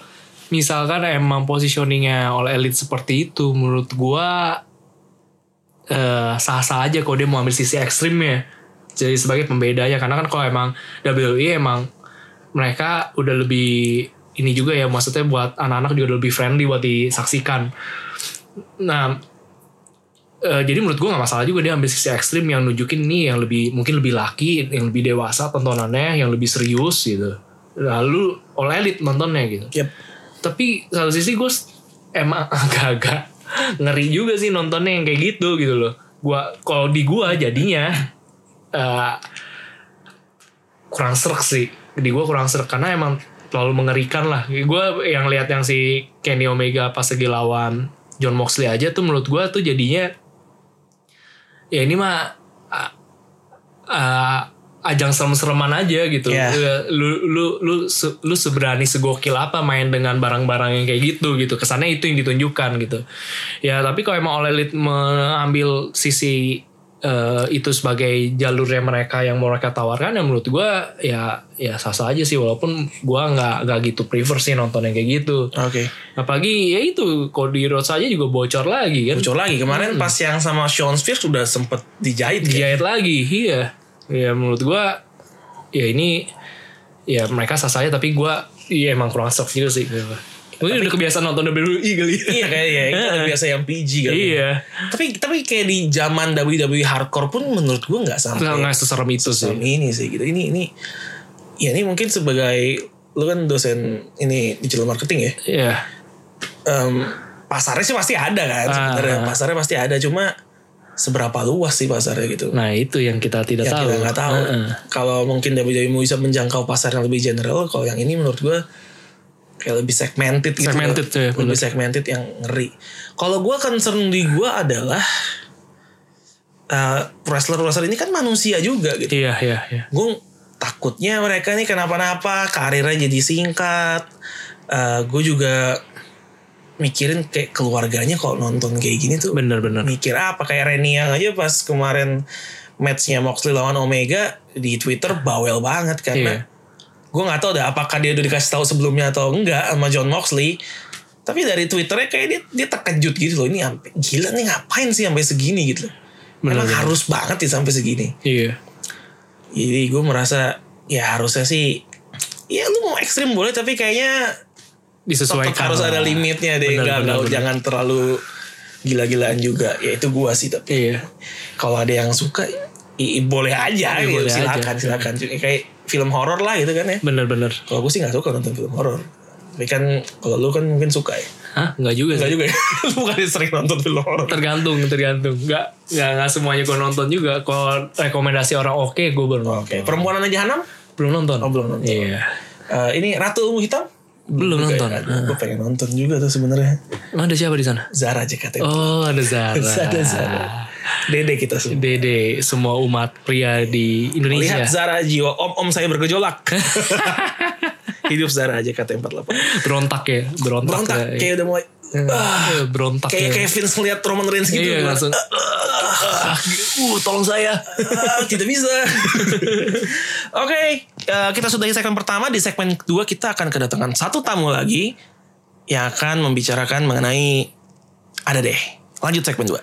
misalkan emang positioningnya oleh elit seperti itu, menurut gue eh, sah-sah aja kalau dia mau ambil sisi ekstrimnya. Jadi sebagai pembedanya karena kan kalau emang WWE emang mereka udah lebih ini juga ya maksudnya buat anak-anak juga udah lebih friendly buat disaksikan. Nah, eh, jadi menurut gue nggak masalah juga dia ambil sisi ekstrim yang nunjukin nih yang lebih mungkin lebih laki, yang lebih dewasa tontonannya, yang lebih serius gitu. Lalu oleh elit nontonnya gitu.
Yep.
Tapi satu sisi gue emang agak-agak ngeri juga sih nontonnya yang kayak gitu gitu loh. Gua kalau di gua jadinya eh, kurang serak sih. Di gua kurang serak karena emang terlalu mengerikan lah. Gua yang lihat yang si Kenny Omega pas lagi lawan John Moxley aja tuh menurut gua tuh jadinya ya ini mah ah, ah, ajang serem-sereman aja gitu.
Iya.
Eh, Lu lu lu se- lu seberani segokil apa main dengan barang-barang yang kayak gitu gitu. Kesannya itu yang ditunjukkan gitu. Ya tapi kalau emang oleh elit mengambil sisi eh, itu sebagai jalurnya mereka yang mau mereka tawarkan ya menurut gua ya ya sah-sah aja sih walaupun gua nggak nggak gitu prefer sih nonton yang kayak gitu.
oke
Apalagi ya itu Cody Rhodes aja juga bocor lagi kan.
muncul lagi kemarin pas yang sama Sean Spears udah sempet dijahit ya?
dijahit lagi iya ya menurut gua ya ini ya mereka sah saja tapi gua iya emang kurang shock juga sih gue ini udah kebiasaan nonton WWE kali
iya kayak ya itu kan biasa yang PG kan
iya
tapi tapi kayak di zaman WWE hardcore pun menurut gue nggak sampai
nggak nggak seserem itu sih
Tahun ini sih gitu ini ini ya ini mungkin sebagai lu kan dosen ini digital marketing ya
iya
Em, pasarnya sih pasti ada kan
Ah.
sebenarnya pasarnya pasti ada cuma seberapa luas sih pasarnya gitu
nah itu yang kita tidak
yang
tahu
Ya, kita nggak tahu
Heeh.
kalau mungkin WWE bisa menjangkau pasar yang lebih general kalau yang ini menurut gue kayak lebih segmented gitu
Segmented,
loh.
ya,
lebih segmented yang ngeri kalau gue concern di gue adalah eh, wrestler wrestler ini kan manusia juga gitu
iya iya iya
gue takutnya mereka nih kenapa-napa karirnya jadi singkat gue juga mikirin kayak keluarganya kalau nonton kayak gini tuh
bener bener
mikir apa kayak Reni yang aja pas kemarin matchnya Moxley lawan Omega di Twitter bawel banget
iya
karena gue nggak tahu deh apakah dia udah dikasih tahu sebelumnya atau enggak sama John Moxley tapi dari Twitternya kayak dia dia terkejut gitu loh ini ampe, gila nih ngapain sih sampai segini gitu loh
Bener,
Emang
bener.
harus banget sih sampai segini
iya
jadi gue merasa ya harusnya sih ya lu mau ekstrim boleh tapi kayaknya tetap
disesuaikan
harus
lah.
ada limitnya deh
Bener,
Nggak-
bener,
nggak-
bener.
jangan terlalu gila-gilaan juga ya itu gue sih tapi
iya
kalau ada yang suka i- i- boleh aja
Iya,
gitu.
boleh
silakan
aja.
silakan Cuma kayak film horor lah gitu kan ya
bener bener
kalau gue sih nggak suka nonton film horor tapi kan kalau lu kan mungkin suka ya
hah nggak juga sih
nggak juga ya lu bukan yang sering nonton film horor
tergantung tergantung nggak nggak nggak semuanya gue nonton juga kalau rekomendasi orang oke gue baru nonton
oke perempuan aja Hanam
belum nonton
Oh, belum nonton.
iya
Eh, ini Ratu Ilmu Hitam
belum nonton
gue pengen nonton juga tuh sebenarnya
Emang ada siapa di sana
Zara JKT
oh ada Zara
Iya. Ada Zara. Dede kita semua.
Dede semua umat pria di Indonesia
Lihat Zara jiwa om-om saya bergejolak. Hidup Zara aja kata 48.
berontak ya berontak,
Berontak
ya.
kayak udah mulai ah,
Eh, berontak
kayak
ya.
Kevin ngeliat Roman Reigns gitu.
iya
Gua,
langsung uh tolong saya
ah, tidak bisa. Oke, eh, kita sudahi segmen pertama. Di segmen kedua kita akan kedatangan satu tamu lagi yang akan membicarakan mengenai ada deh. Lanjut segmen dua.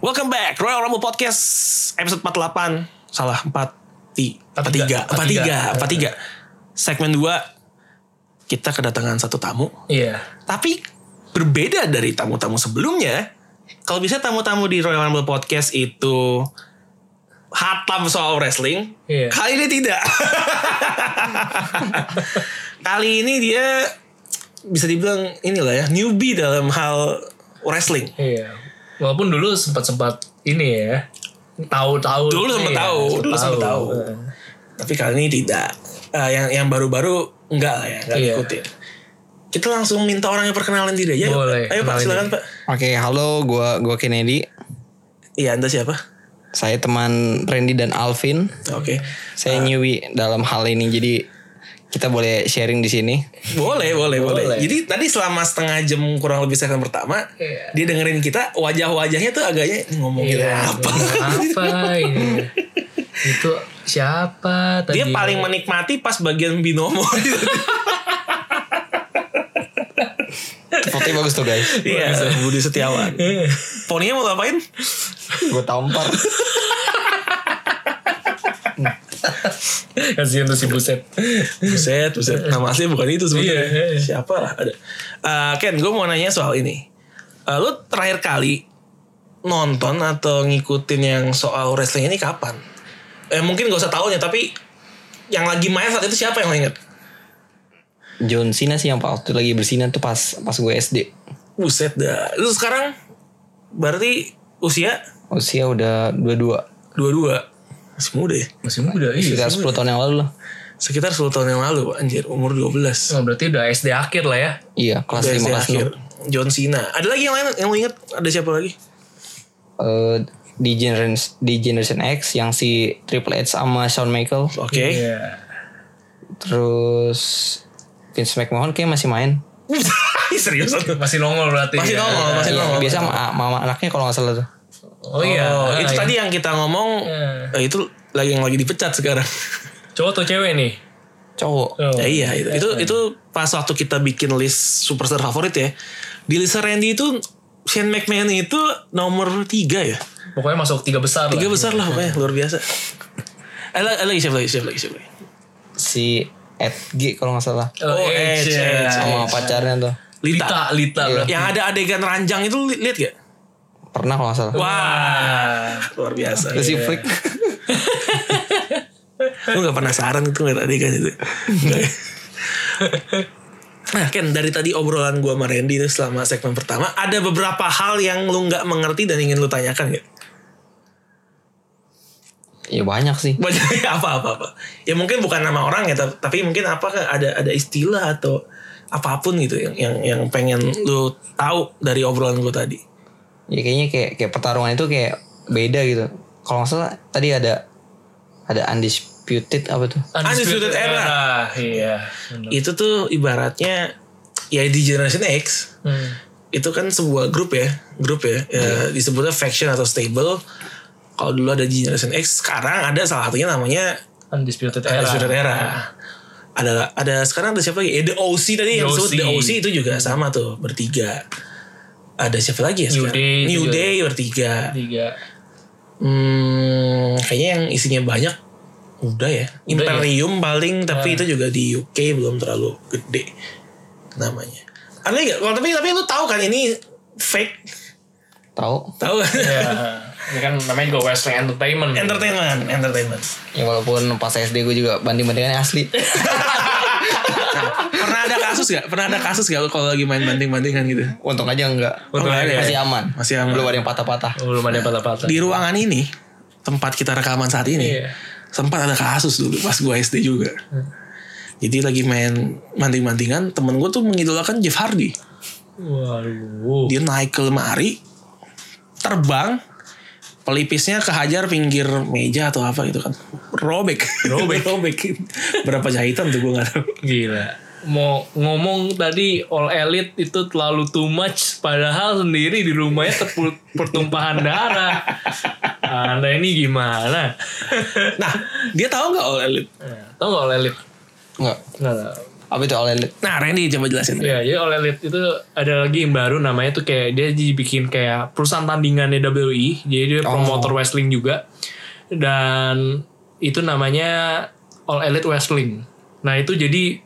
Welcome back Royal Rumble Podcast episode 48 salah 4 43 43 43 segmen 2 kita kedatangan satu tamu
iya
tapi berbeda dari tamu-tamu sebelumnya. Kalau bisa tamu-tamu di Royal Rumble Podcast itu hatam soal wrestling.
Iya.
Kali ini tidak. Kali ini dia bisa dibilang inilah ya newbie dalam hal wrestling.
iya walaupun dulu sempat sempat ini ya tahu-tahu
Dulu sempat
Iya,
tahu, dulu sempat tahu. Tapi kali ini tidak. Eh, yang yang baru-baru enggak lah ya, enggak
Iya.
ngikutin. Kita langsung minta orangnya perkenalan diri aja.
Boleh,
Ayo Pak,
kenalin
silakan
diri.
Pak.
Oke, halo, gua gua Kennedy.
Iya, Anda siapa?
Saya teman Randy dan Alvin.
Oke. Ah.
Saya newbie dalam hal ini jadi kita boleh sharing di sini.
Boleh, boleh, boleh, Jadi tadi selama setengah jam kurang lebih segmen pertama,
Iya.
dia dengerin kita wajah-wajahnya tuh agaknya "Ini ngomongin apa.
apa ini itu siapa tadi
Dia paling menikmati pas bagian binomo.
Fotonya bagus tuh guys.
Iya, Budi Setiawan.
Iya.
Poninya mau ngapain?
Gue tampar.
kasihan tuh si buset
Buset, buset. Nama asli bukan itu sebenarnya.
Iya, iya.
Siapa lah ada. Eh, Ken, gue mau nanya soal ini. Eh, lu terakhir kali nonton atau ngikutin yang soal wrestling ini kapan? Eh mungkin gak usah tahunnya, tapi yang lagi main saat itu siapa yang lo inget?
John Cena sih yang waktu lagi bersinar tuh pas pas gue SD.
Buset dah. Lu sekarang berarti usia
Usia udah 22
22. Masih muda ya?
masih muda iya
sekitar 10 tahun yang lalu lah.
Sekitar 10 tahun yang lalu, Pak. anjir. Umur 12.
Nah, berarti udah SD akhir lah ya
Iya, kelas
Udah
5
SD
kelas
akhir. John Cena. Ada lagi yang lain yang lo inget? Ada siapa lagi?
6. Eh, di Generation di Generation X yang si Triple H sama Shawn Michael
Oke.
Iya.
terus Vince McMahon kayak masih main.
Serius
masih nongol berarti
Masih
ya.
nongol, masih
Iya,
nongol.
biasa sama, sama anaknya kalau nggak salah tuh.
oh iya
Oh,
Ah,
itu
iya.
tadi yang kita ngomong
Iya.
eh, itu lagi yang lagi dipecat sekarang.
cowok atau cewek nih
Cowok.
oh.
Ya, iya, itu, itu itu pas waktu kita bikin list superstar favorit ya. Di list Randy itu Shane McMahon itu nomor tiga ya.
pokoknya masuk tiga besar
Tiga
lah.
besar lah pokoknya luar biasa. Eh, la- eh, lagi siapa lagi siapa lagi siapa lagi.
Si Ed G kalau nggak salah
oh,
Oh,
Edge,
Edge,
ya.
Edge.
sama pacarnya tuh.
Lita. Iya.
Lita Lita berarti
Yang ada adegan ranjang itu li- lihat gak?
Pernah kalau nggak salah.
Wah,
Ah.
luar biasa.
Terus si Freak.
Lu gak penasaran itu ngeliat adegan itu Nggak ya? Nah Ken dari tadi obrolan gua sama Randy itu selama segmen pertama Ada beberapa hal yang lu gak mengerti dan ingin lu tanyakan gak?
Ya banyak sih.
Banyak apa-apa Ya mungkin bukan nama orang ya ta- Tapi mungkin apa ada ada istilah atau apapun gitu yang yang yang pengen lu tahu dari obrolan gua tadi.
ya kayaknya kayak kayak pertarungan itu kayak beda gitu kalau nggak salah tadi ada ada undisputed apa tuh
Ah,
Undisputed Era.
iya
Itu tuh ibaratnya ya di Generation X
Hmm.
itu kan sebuah grup ya, grup ya, ya,
Iya.
disebutnya faction atau stable. Kalau dulu ada Generation X, sekarang ada salah satunya namanya
Undisputed Era
Undisputed Era. Ada ada sekarang ada siapa lagi? Eh, The OC tadi yang
The
disebut
OC.
The OC itu juga sama tuh bertiga. Ada siapa lagi ya?
New
sekarang?
Day
New
juga.
Day bertiga.
tiga
Hmm, kayaknya yang isinya banyak udah ya. Ah. Imperium paling tapi itu juga di UK belum terlalu gede namanya. Aneh gak? Kalau tapi tapi lu tahu kan ini fake
tahu
Tahu kan?
ya ini kan namanya juga wrestling entertainment
entertainment, entertainment.
ya walaupun pas SD gue juga banding bandingannya asli
Nah, Pernah ada kasus gak? Pernah ada kasus gak lu kalau lagi main banting-bantingan gitu?
untung aja enggak
Untung aja ya.
masih aman
Masih aman.
belum ada yang patah-patah
belum ada patah-patah
Di ruangan ini, tempat kita rekaman saat ini,
Iya.
sempat ada kasus dulu pas gua SD juga. Jadi lagi main banting-bantingan, temen gue tuh mengidolakan Jeff Hardy.
waduh
Dia naik ke lemari, terbang, pelipisnya kehajar pinggir meja atau apa gitu kan. Robek. Robek. Robek. Berapa jahitan tuh gue gak tau.
Gila. Mau ngomong tadi all elite itu terlalu too much padahal sendiri di rumahnya terpu- pertumpahan darah. Anda ini gimana?
Nah, dia tahu gak All Elite?
Tahu nggak all elite?
enggak
Nggak tahu.
apa itu all elite
Nah, Randy coba jelasin.
Ya, jadi All Elite itu ada lagi yang baru namanya tuh kayak dia dibikin kayak perusahaan tandingannya WWE. E, Jadi dia promotor wrestling juga. Dan itu namanya All Elite Wrestling. Nah, itu jadi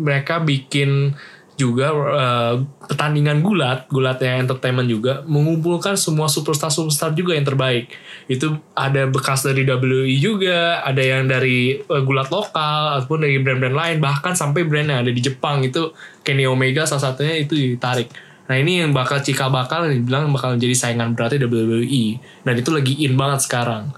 mereka bikin juga eh, pertandingan gulat, gulatnya entertainment juga mengumpulkan semua superstar-superstar juga yang terbaik. Itu ada bekas dari WWE juga, ada yang dari eh, gulat lokal ataupun dari brand-brand lain, bahkan sampai brand yang ada di Jepang itu Kenny Omega salah satunya itu ditarik. Nah ini yang bakal cikal bakal yang dibilang bakal jadi saingan berarti WWE dan itu lagi in banget sekarang.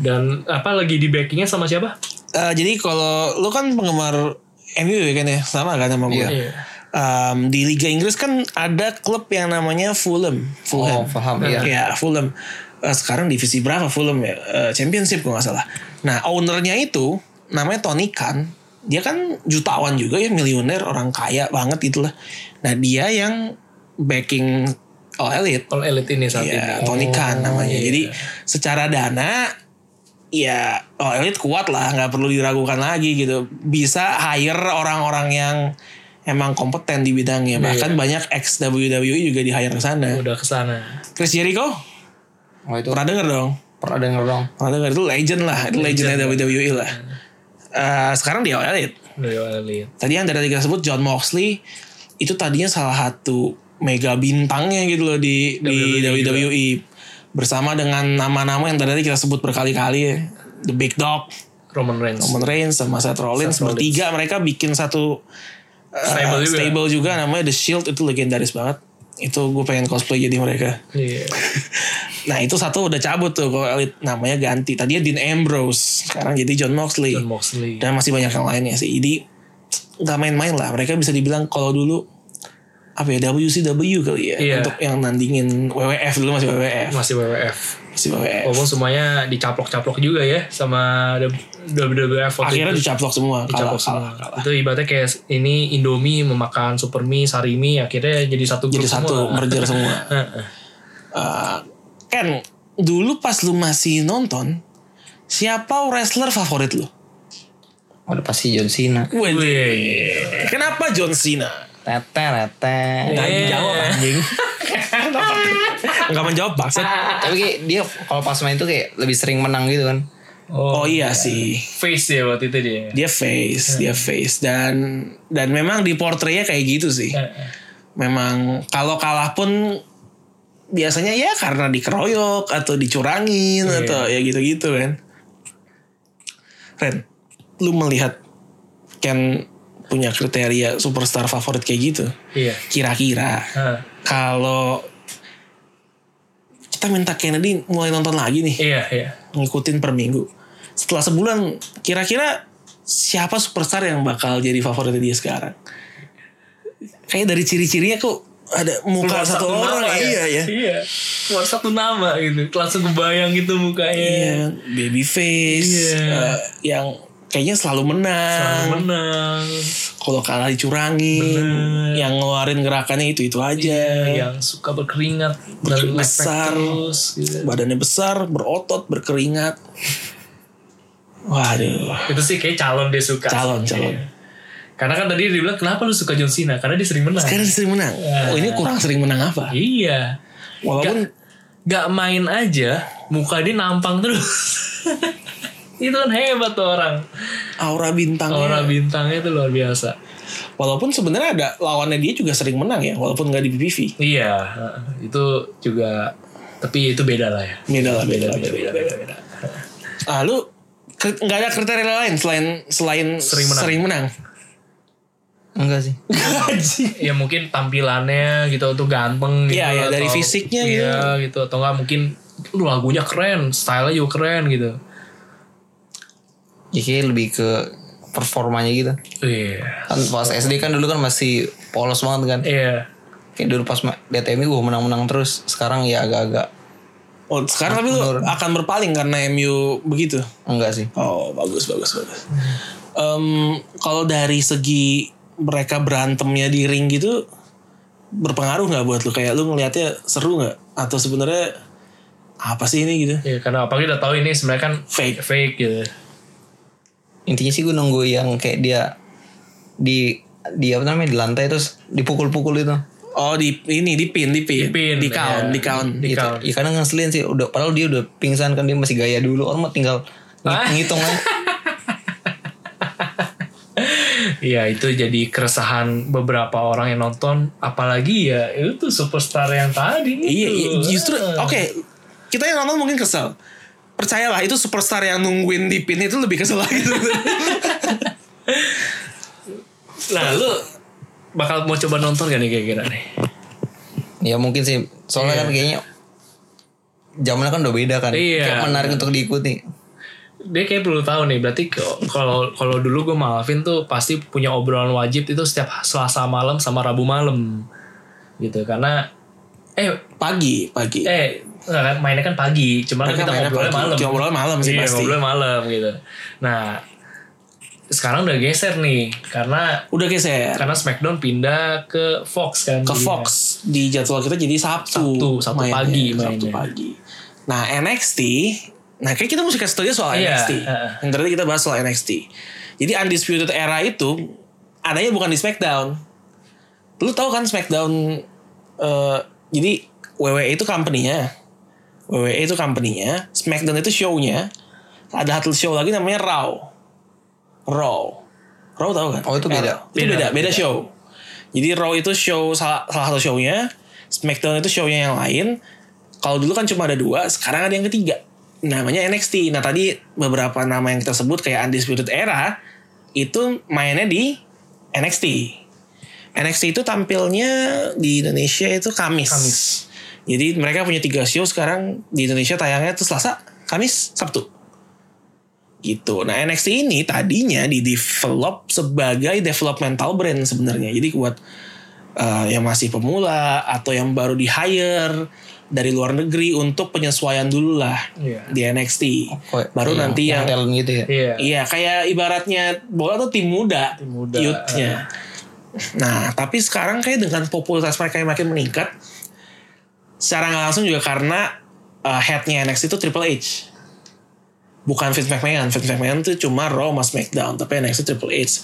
Dan apa lagi di backingnya sama siapa?
Eh, jadi kalau lu kan penggemar MU ya kan ya sama kan sama gue.
Iya.
Em, di Liga Inggris kan ada klub yang namanya Fulham. Fulham.
Oh, Fulham, iya.
Fulham. eh, sekarang divisi berapa Fulham ya? Eh, Championship kalau nggak salah. Nah ownernya itu namanya Tony Khan. Dia kan jutawan juga ya, miliuner, orang kaya banget gitu lah. Nah dia yang backing All Elite.
All Elite ini saat
Iya,
ini. Oh,
Tony Khan namanya. Jadi secara dana ya oh elit kuat lah, nggak perlu diragukan lagi gitu. Bisa hire orang-orang yang emang kompeten di bidangnya. Bahkan banyak ex WWE juga di hire ke sana.
Udah kesana.
Chris Jericho
Oh itu
pernah denger dong?
pernah denger dong.
Pernah denger itu legend lah, Hmm. itu legendnya WWE lah. Eh, sekarang dia elit.
Dari All Elite.
Tadi yang dari tiga sebut John Moxley itu tadinya salah satu mega bintangnya gitu loh di di
WWE E juga.
WWE bersama dengan nama-nama yang tadi kita sebut berkali-kali ya. The Big Dog,
Roman Reigns.
Roman Reigns sama Seth Rollins
Seth Rollins.
bertiga mereka bikin satu uh,
Stable juga.
stable juga namanya The Shield itu legendaris banget. Itu gue pengen cosplay jadi mereka.
Iya.
Nah itu satu udah cabut tuh kalau elit namanya ganti. Tadinya Dean Ambrose, sekarang jadi John Moxley
John Moxley.
dan masih banyak yang lainnya sih. Jadi nggak main-main lah. Mereka bisa dibilang kalau dulu apa ya WCW kali ya
Iya.
untuk yang nandingin WWF dulu masih WWF
Masih WWF.
masih WWF.
Walaupun semuanya dicaplok-caplok juga ya sama WWF waktu
Akhirnya
itu.
dicaplok semua, kalah,
Dicaplok
kalah,
semua.
kalah.
Itu ibaratnya kayak ini Indomie memakan Supermie, Sarimi akhirnya jadi satu grup
Jadi satu
semua.
merger semua.
Heeh.
Eh, Ken, dulu pas lu masih nonton, siapa wrestler favorit lu?
Udah pasti John Cena.
Iya,
Wih.
Kenapa John Cena? Eh.
Tete tete.
Nggak
Iya.
menjawab anjing. Nggak menjawab maksud.
Tapi kayak dia kalau pas main tuh kayak lebih sering menang gitu kan.
Oh iya sih.
Face ya waktu itu dia.
dia face dia face dan dan memang di portraynya kayak gitu sih
Heeh.
memang kalau kalah pun biasanya ya karena dikeroyok atau dicurangin atau ya gitu-gitu kan Ren lu melihat Ken punya kriteria superstar favorit kayak gitu
Iya.
kira-kira
Heeh.
kalau kita minta Kennedy mulai nonton lagi nih
Iya, iya.
ngikutin per minggu. Setelah sebulan, kira-kira siapa superstar yang bakal jadi favoritnya dia sekarang? Kayaknya dari ciri-cirinya kok ada muka
Keluar
satu, orang
nama
ya. Iya ya.
Iya. Keluar satu nama gitu. Langsung kebayang gitu mukanya.
Iya, baby face
Iya.
eh, yang kayaknya selalu menang.
Selalu menang.
Kalau kalah dicurangin, yang ngeluarin gerakannya itu-itu aja.
Yang suka berkeringat dan
Berkeringat
lepek
besar.
terus gitu.
Badannya besar, berotot, berkeringat. Waduh,
Itu sih kayak calon dia suka.
calon
sih.
calon.
Karena kan tadi dia bilang kenapa lu suka John Cena? Karena dia sering menang.
Sekarang sering menang. Oh, ini kurang sering menang apa?
Iya.
Walaupun
Gak main aja, muka dia nampang terus. itu kan hebat tuh orang.
aura bintangnya
Orang bintangnya itu luar biasa.
walaupun sebenarnya ada lawannya dia juga sering menang ya walaupun nggak di PPV
Iya, heeh. itu juga tapi itu beda lah ya.
beda lah beda lah,
Beda,
beda
beda,
lah.
beda, beda.
ah lu kri- nggak ada kriteria lain selain selain
Sering menang.
sering menang
Enggak sih.
Ya mungkin tampilannya gitu tuh ganteng gitu.
Iya, iya, dari
atau-
fisiknya ya.
iya, gitu. Atau enggak mungkin lu lagunya keren, stylenya juga keren gitu.
Ya kayak lebih ke performanya gitu.
Iya.
Kan pas SD kan dulu kan masih polos banget kan.
Iya.
Kayak dulu pas ma- DTMI gue menang-menang terus. Sekarang ya agak-agak
oh sekarang tapi lu akan berpaling karena MU begitu
enggak sih.
oh bagus bagus bagus Em, kalau dari segi mereka berantemnya di ring gitu berpengaruh nggak buat lu kayak lu ngelihatnya seru nggak atau sebenarnya apa sih ini gitu
Iya, karena apalagi udah tahu ini sebenarnya kan
Fake.
fake gitu.
Intinya sih gue nunggu yang kayak dia di di apa namanya di lantai terus dipukul-pukul itu.
oh di ini di pin di pin
Di pin,
di count
ya.
di count
Di
Gitu.
count.
Ya karena ngeselin sih udah padahal dia udah pingsan kan dia masih gaya dulu orang mah tinggal ng-
Ah.
ngitung aja.
Iya itu jadi keresahan beberapa orang yang nonton apalagi ya itu superstar yang tadi gitu.
Iya, iya, justru oke.
Ah.
Kita yang nonton mungkin kesel. Percayalah itu superstar yang nungguin di pin itu lebih kesel lagi.
Nah lu bakal mau coba nonton gak nih kira-kira nih?
Ya mungkin sih soalnya kan kayaknya zamannya kan udah beda kan.
Iya.
Kayak menarik untuk diikuti.
Dia kayak perlu tahu nih berarti ke- kalau kalau dulu gue sama Alvin tuh pasti punya obrolan wajib itu setiap Selasa malam sama Rabu malam gitu karena eh
pagi, pagi.
eh Nggak, kan, mainnya kan pagi, cuma kan
Mereka
kita
mainnya
ngobrolnya
pagi.
malam.
Kita ngobrolnya malam sih
Iya,
pasti.
ngobrolnya malam gitu. Nah, sekarang udah geser nih karena
Udah geser
karena SmackDown pindah ke Fox kan.
ke
jadinya.
Fox di jadwal kita jadi Sabtu.
Sabtu, Sabtu pagi
Sabtu
mainnya.
pagi. Nah NXT, nah kayak kita mesti kasih tau aja soal
Iya,
NXT.
heeh.
Yang tadi kita bahas soal NXT. Jadi undisputed era itu adanya bukan di SmackDown. Lu tahu kan SmackDown? eh, jadi WWE itu company-nya. WWE itu company-nya. SmackDown itu show-nya. Ada satu show lagi namanya Raw. Raw. Raw tahu kan?
Oh, itu beda.
Itu beda,
Beda,
beda show. Jadi Raw itu show salah, salah satu show-nya, SmackDown itu show-nya yang lain. Kalau dulu kan cuma ada dua, sekarang ada yang ketiga. Namanya NXT. Nah tadi beberapa nama yang kita sebut kayak Undisputed Era, itu mainnya di NXT. NXT itu tampilnya di Indonesia itu Kamis.
Kamis.
Jadi mereka punya tiga show sekarang di Indonesia tayangnya itu Selasa, Kamis, Sabtu. Gitu. Nah NXT ini tadinya di develop sebagai developmental brand sebenarnya. Jadi buat eh, yang masih pemula atau yang baru di hire dari luar negeri untuk penyesuaian dulu lah
Iya.
di NXT.
Kok-
baru
yang-
nanti yang
talent gitu ya.
Iya.
Iya, kayak ibaratnya bola tuh tim muda,
Tim muda.
youth-nya. Nah, tapi sekarang kayak dengan popularitas mereka yang makin meningkat, secara nggak langsung juga karena uh, head-nya NXT itu Triple H. Bukan Vince McMahon. Vince McMahon itu cuma Raw sama SmackDown, tapi NXT Triple H.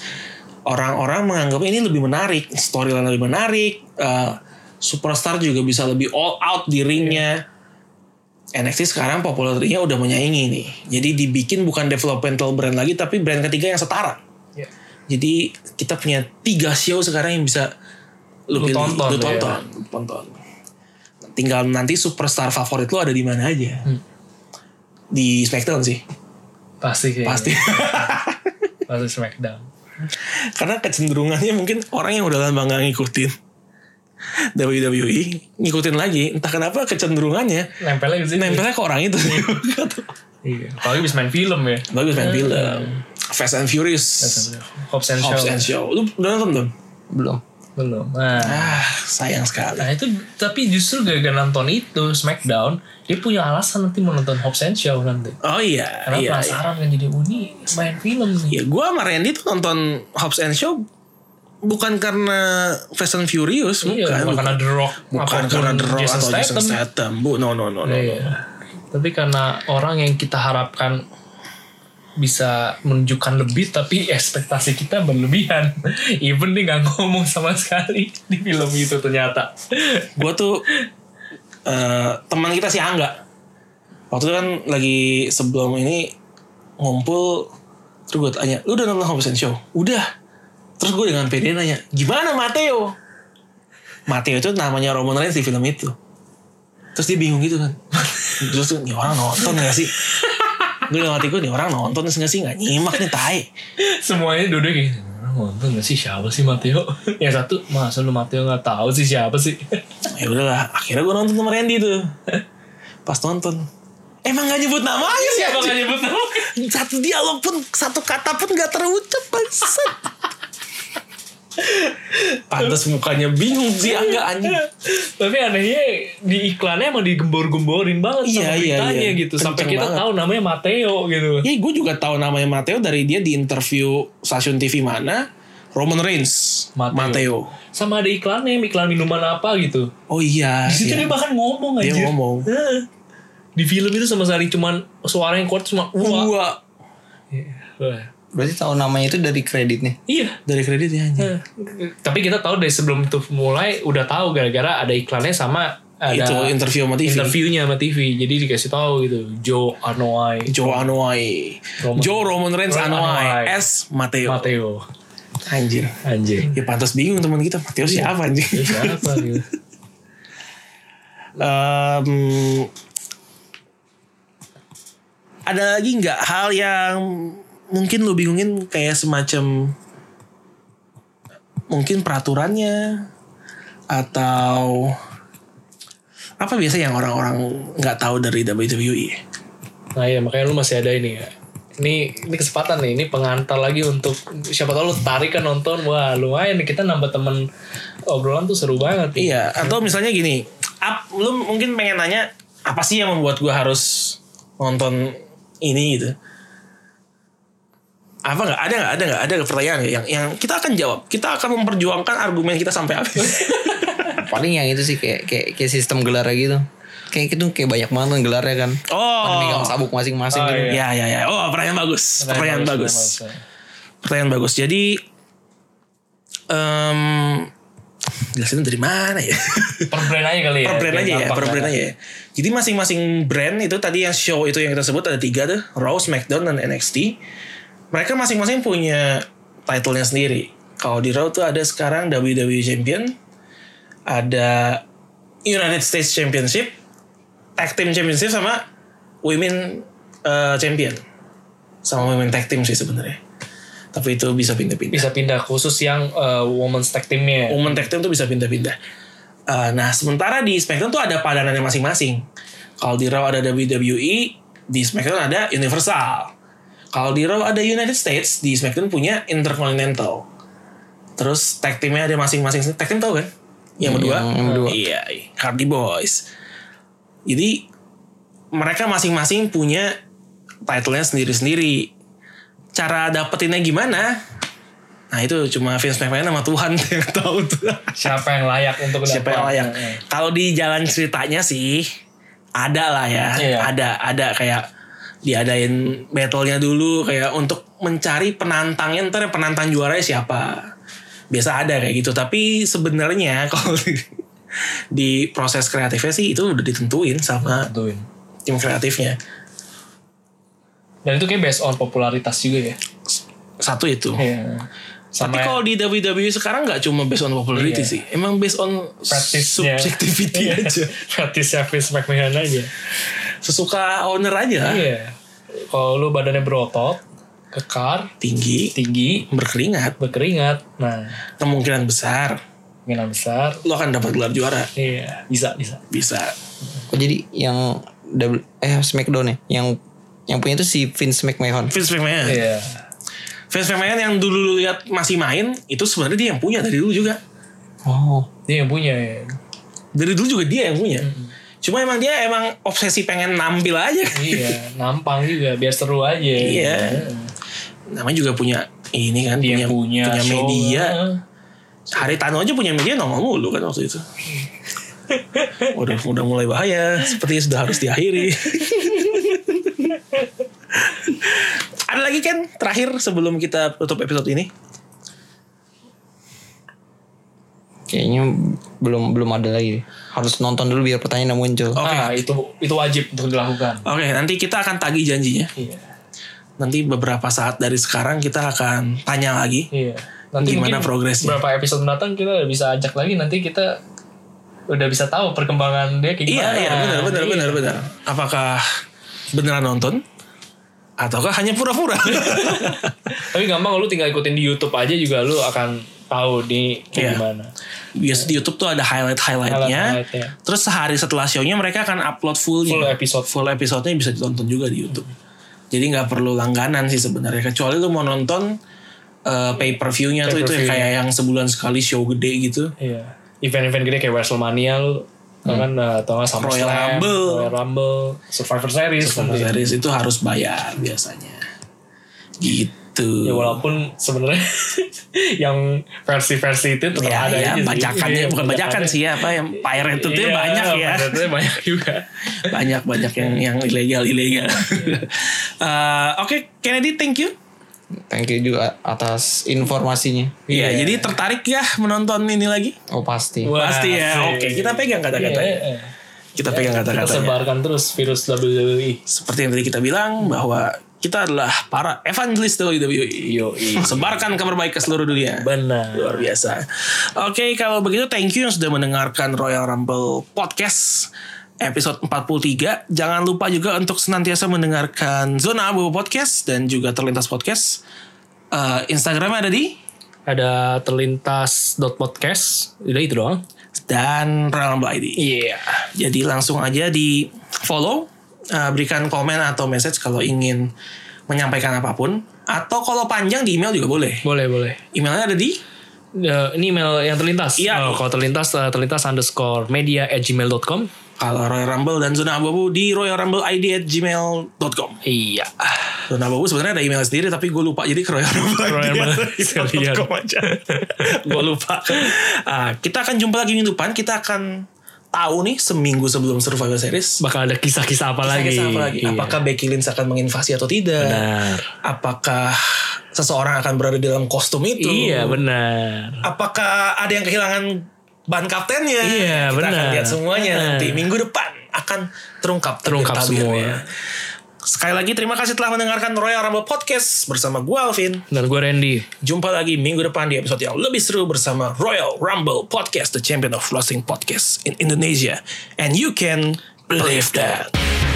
Orang-orang menganggap ini lebih menarik, storyline lebih menarik, uh, superstar juga bisa lebih all out di ringnya. NXT sekarang popularnya udah menyaingi nih. Jadi dibikin bukan developmental brand lagi tapi brand ketiga yang setara.
Iya.
Jadi kita punya tiga show sekarang yang bisa lu,
Lu
pilih,
tonton,
lu
ya.
tonton, iya. lu tonton. Tinggal nanti superstar favorit lu ada di mana aja. Di SmackDown sih,
Pasti kayaknya.
pasti.
Pasti SmackDown.
Karena kecenderungannya mungkin orang yang udah lama nggak ngikutin WWE ngikutin lagi. Entah kenapa kecenderungannya
Nempelnya gitu.
nempelnya ke orang itu.
Iya. Apalagi bisa main film ya.
Bagus main film. Hmm. Fast and Furious.
Hobbs and Shaw.
Hobbs and Shaw. Lu udah nonton belum?
Belum.
Belum. Nah.
Ah, sayang sekali.
Nah itu tapi justru gara-gara nonton itu Smackdown dia punya alasan nanti mau nonton Hobbs and Shaw nanti.
Oh iya,
Karena
iya. iya.
penasaran kan jadi uni main film nih.
Ya gue sama Randy tuh nonton Hobbs and Shaw bukan karena Fast and Furious,
Iya,
bukan,
bukan karena The Rock,
bukan
apapun
karena The Rock
Jason
atau Jason
Statham.
Statham. Bu, no no no no.
Iya. Tapi karena orang yang kita harapkan bisa menunjukkan lebih tapi ekspektasi kita berlebihan. Even dia nggak ngomong sama sekali di film itu ternyata.
Gue tuh eh, teman kita si Angga. Waktu itu kan lagi sebelum ini ngumpul terus gue tanya, lu udah nonton Hobbs and Shaw? Udah. Terus gue dengan PD nanya, gimana Mateo? Mateo itu namanya Roman Reigns di film itu. Terus dia bingung gitu kan. Terus tuh, nih orang nonton gak sih? gue dalam hati gue, nih orang nonton gak sih? Gak nyimak nih, tai.
Semuanya duduk kayak "Orang nonton gak sih siapa sih Mateo? Yang satu masa lu Mateo nggak tahu sih siapa sih?
Ya udahlah, akhirnya gue nonton sama Randy tuh. Pas nonton, emang gak nyebut namanya sih?
Siapa nggak nyebut nama?
satu dialog pun satu kata pun gak terucap bangsat pantas mukanya bingung sih enggak anjing
Tapi anehnya di iklannya emang digembor-gemborin banget
Iya,
sama
iya,
beritanya
iya.
gitu. Sampai
Kenceng
kita
banget.
tahu namanya Mateo gitu.
ya gue juga tahu namanya Mateo dari dia di interview stasiun TV mana Roman Reigns
Mateo.
Mateo,
Sama ada iklannya, iklan minuman apa gitu.
oh iya
Di situ
iya.
dia bahkan ngomong aja.
Dia ngomong.
Di film itu sama sekali cuman suara yang kuat cuma wah.
dua
Wah.
Berarti tahu namanya itu dari kreditnya.
Iya.
dari kreditnya anjing
Eh, Tapi kita tahu dari sebelum itu mulai udah tahu gara-gara ada iklannya sama ada
itu interview sama TV
interviewnya sama TV. Jadi dikasih tahu gitu. Joe Anoa'i.
Joe Anoa'i
Roman-
Joe Roman Reigns
Roman
Anoa'i
Anoa'i.
S Mateo.
Mateo.
anjir
Anjing.
ya pantas bingung teman kita Mateo siapa anjing
Dia siapa gitu.
Em, ada lagi nggak hal yang mungkin lu bingungin kayak semacam mungkin peraturannya atau apa biasa yang orang-orang nggak tahu dari E? WWE?
Nah iya makanya lu masih ada ini ya. Ini ini kesempatan nih, ini pengantar lagi untuk siapa tahu lu tarik kan nonton. Wah, lumayan nih kita nambah temen obrolan tuh seru banget.
Iya, atau misalnya gini, up, lu mungkin pengen nanya apa sih yang membuat gue harus nonton ini gitu apa nggak ada nggak ada nggak ada nggak pertanyaan nggak yang yang kita akan jawab kita akan memperjuangkan argumen kita sampai habis
paling yang itu sih kayak kayak, kayak sistem gelar gitu kayak itu kayak banyak banget kan gelarnya kan Pada megang
oh
sabuk masing-masing
Oh,
gitu
iya.
ya ya ya oh pertanyaan bagus pertanyaan bagus pertanyaan bagus jadi em jelasin dari mana ya
Per brand aja kali ya.
per brand
biar
aja ya,
gampang
per
kan.
brand aja ya. Jadi masing-masing brand itu tadi yang show itu yang kita sebut ada tiga tuh, Raw, SmackDown, dan NXT. Mereka masing-masing punya title-nya sendiri. Kalau di Raw tuh ada sekarang WWE Champion, ada United States Championship, Tag Team Championship sama Women eh, Champion. Sama Women Tag Team sih sebenarnya. Tapi itu bisa pindah-pindah.
Bisa pindah khusus yang eh, women's tag
Iya.
teamnya.
Women tag team tuh bisa pindah-pindah. Eh, nah sementara di SmackDown tuh ada padanannya masing-masing. Kalau di Raw ada WWE, di SmackDown ada Universal. Kalau di Raw ada United States, di SmackDown punya Intercontinental. Terus tag teamnya ada masing-masing. Tag team tau kan? Yang berdua?
yang berdua.
Iya, Hardy Boys. Jadi mereka masing-masing punya title-nya sendiri-sendiri. Cara dapetinnya gimana? Nah itu cuma Vince McMahon sama Tuhan yang tahu tuh.
Siapa yang layak untuk
Siapa yang
dapat. Nah,
layak.
Heeh.
Kalau di jalan ceritanya sih ada lah ya.
Iya.
Ada ada kayak diadain battle-nya dulu kayak untuk mencari penantangnya ntar yang penantang juaranya siapa. Biasa ada kayak gitu. Tapi sebenarnya kalau di, di proses kreatifnya sih itu udah ditentuin sama
Tentuin.
tim kreatifnya.
Dan itu kayak based on popularitas juga ya.
Satu itu.
Iya. Sama
Oh. Tapi kalau di WWE sekarang nggak cuma based on popularity
Iya.
sih, emang based on
Praktisnya.
subjectivity aja,
Berarti service McMahon aja.
sesuka owner aja,
Iya. Kalau lu badannya berotot, kekar,
tinggi,
tinggi,
berkeringat,
berkeringat. Nah,
kemungkinan besar
kemungkinan besar.
lo akan dapat gelar juara,
Iya, bisa, bisa.
bisa.
Oh, jadi yang double, eh Smackdown ya, yang yang punya itu si Vince McMahon.
Vince McMahon,
Iya.
Vince McMahon yang dulu lu lihat masih main, itu sebenarnya dia yang punya dari dulu juga,
Oh,
Dia yang punya ya.
dari dulu juga dia yang punya.
Mm-hmm.
Cuma emang dia emang obsesi pengen nampil aja.
Iya, nampang juga biar seru aja.
Iya. Namanya juga punya ini kan,
Dia yang punya,
punya
show.
media. Haritano aja punya media nongol mulu kan waktu itu. Udah, udah mulai bahaya, sepertinya sudah harus diakhiri. Ada lagi kan terakhir sebelum kita tutup episode ini?
kayaknya belum belum ada lagi. Harus nonton dulu biar pertanyaan muncul.
Oke.
Ah, itu itu wajib untuk dilakukan.
Oke, nanti kita akan tagih janjinya.
Iya.
Nanti beberapa saat dari sekarang kita akan tanya lagi.
Iya. Nanti
Gimana
mungkin
progresnya?
Berapa episode mendatang kita udah bisa ajak lagi nanti kita udah bisa tahu perkembangan dia
Iya,
kayak gimana.
iya, benar, benar,
Iya.
benar, benar. Apakah beneran nonton? Ataukah hanya pura-pura?
Tapi gampang lu tinggal ikutin di YouTube aja juga lu akan tahu di
Iya.
kayak gimana.
Biasa di YouTube tuh ada highlight-highlightnya.
Highlight-highlightnya.
Terus sehari setelah show-nya mereka akan upload fullnya.
Full episode.
full episode-nya bisa ditonton juga di YouTube. Jadi nggak perlu langganan sih sebenarnya. Kecuali lu mau nonton eh, pay per view-nya tuh itu yang
Pay-per-view-nya.
kayak yang sebulan sekali show gede gitu.
Iya. Event-event gede kayak Wrestlemania lu tau kan eh, atau nggak
Hmm.
SummerSlam,
Royal Rumble.
Royal Rumble, Survivor Series. Iya.
Super
nanti.
series itu harus bayar biasanya. Gitu.
Ya walaupun sebenarnya yang versi-versi itu tetap
Ya,
ada
ya,
aja sih.
bacakannya
Iya,
bukan bacakan
bajakannya.
sih ya, apa yang pirate itu
Iya,
banyak ya.
pirate-nya banyak juga.
banyak banyak yang yang ilegal ilegal.
Iya.
Eh, Oke Kennedy, thank you.
Thank you juga atas informasinya.
Iya, jadi tertarik ya menonton ini lagi?
Oh pasti.
Wah,
Pasti ya.
asik.
Oke, kita pegang kata-katanya.
Iya, iya.
Kita pegang
Kita
kata-katanya.
sebarkan terus virus E. WWE.
seperti yang tadi kita bilang bahwa kita adalah para evangelis WWE.
Yoi.
Sebarkan kabar baik ke seluruh dunia.
Benar.
Luar biasa. Oke, kalau begitu thank you yang sudah mendengarkan Royal Rumble Podcast episode 43. Jangan lupa juga untuk senantiasa mendengarkan Zona Abu Podcast dan juga Terlintas Podcast. Eh, Instagramnya ada di
Ada terlintas.podcast. Udah itu doang.
dan Royal Rumble ID.
Iya.
Jadi langsung aja di follow, eh, berikan komen atau message kalau ingin menyampaikan apapun. Atau kalau panjang di email juga boleh.
Boleh, boleh.
Emailnya ada di
Eh, ini email yang terlintas.
Iya.
Oh, kalau terlintas, eh, terlintas underscore media at gmail.com.
Kalau Royal Rumble dan Zona Abu-Abu di Royal Rumble ID at gmail.com
Iya.
Zona Abu-Abu sebenarnya ada email sendiri tapi gue lupa jadi ke Royal Rumble
Royal Rumble sekalian.
gmail.com aja. gue lupa. Ah, kita akan jumpa lagi minggu depan. Kita akan tahu nih seminggu sebelum Survivor Series.
Bakal ada kisah-kisah apa lagi?
Kisah-kisah apa lagi?
Iya.
Apakah Becky Lynch akan menginvasi atau tidak?
Benar.
Apakah seseorang akan berada di dalam kostum itu?
Iya benar.
apakah ada yang kehilangan ban kaptennya?
Iya,
Kita akan
benar.
lihat semuanya
Benar.
nanti minggu depan akan terungkap
Terungkap
tabir-tabirnya.
semua.
Sekali lagi terima kasih telah mendengarkan Royal Rumble Podcast bersama gue Alvin.
Dan gue Randy.
Jumpa lagi minggu depan di episode yang lebih seru bersama Royal Rumble Podcast, the champion of wrestling podcast in Indonesia. And you can believe that.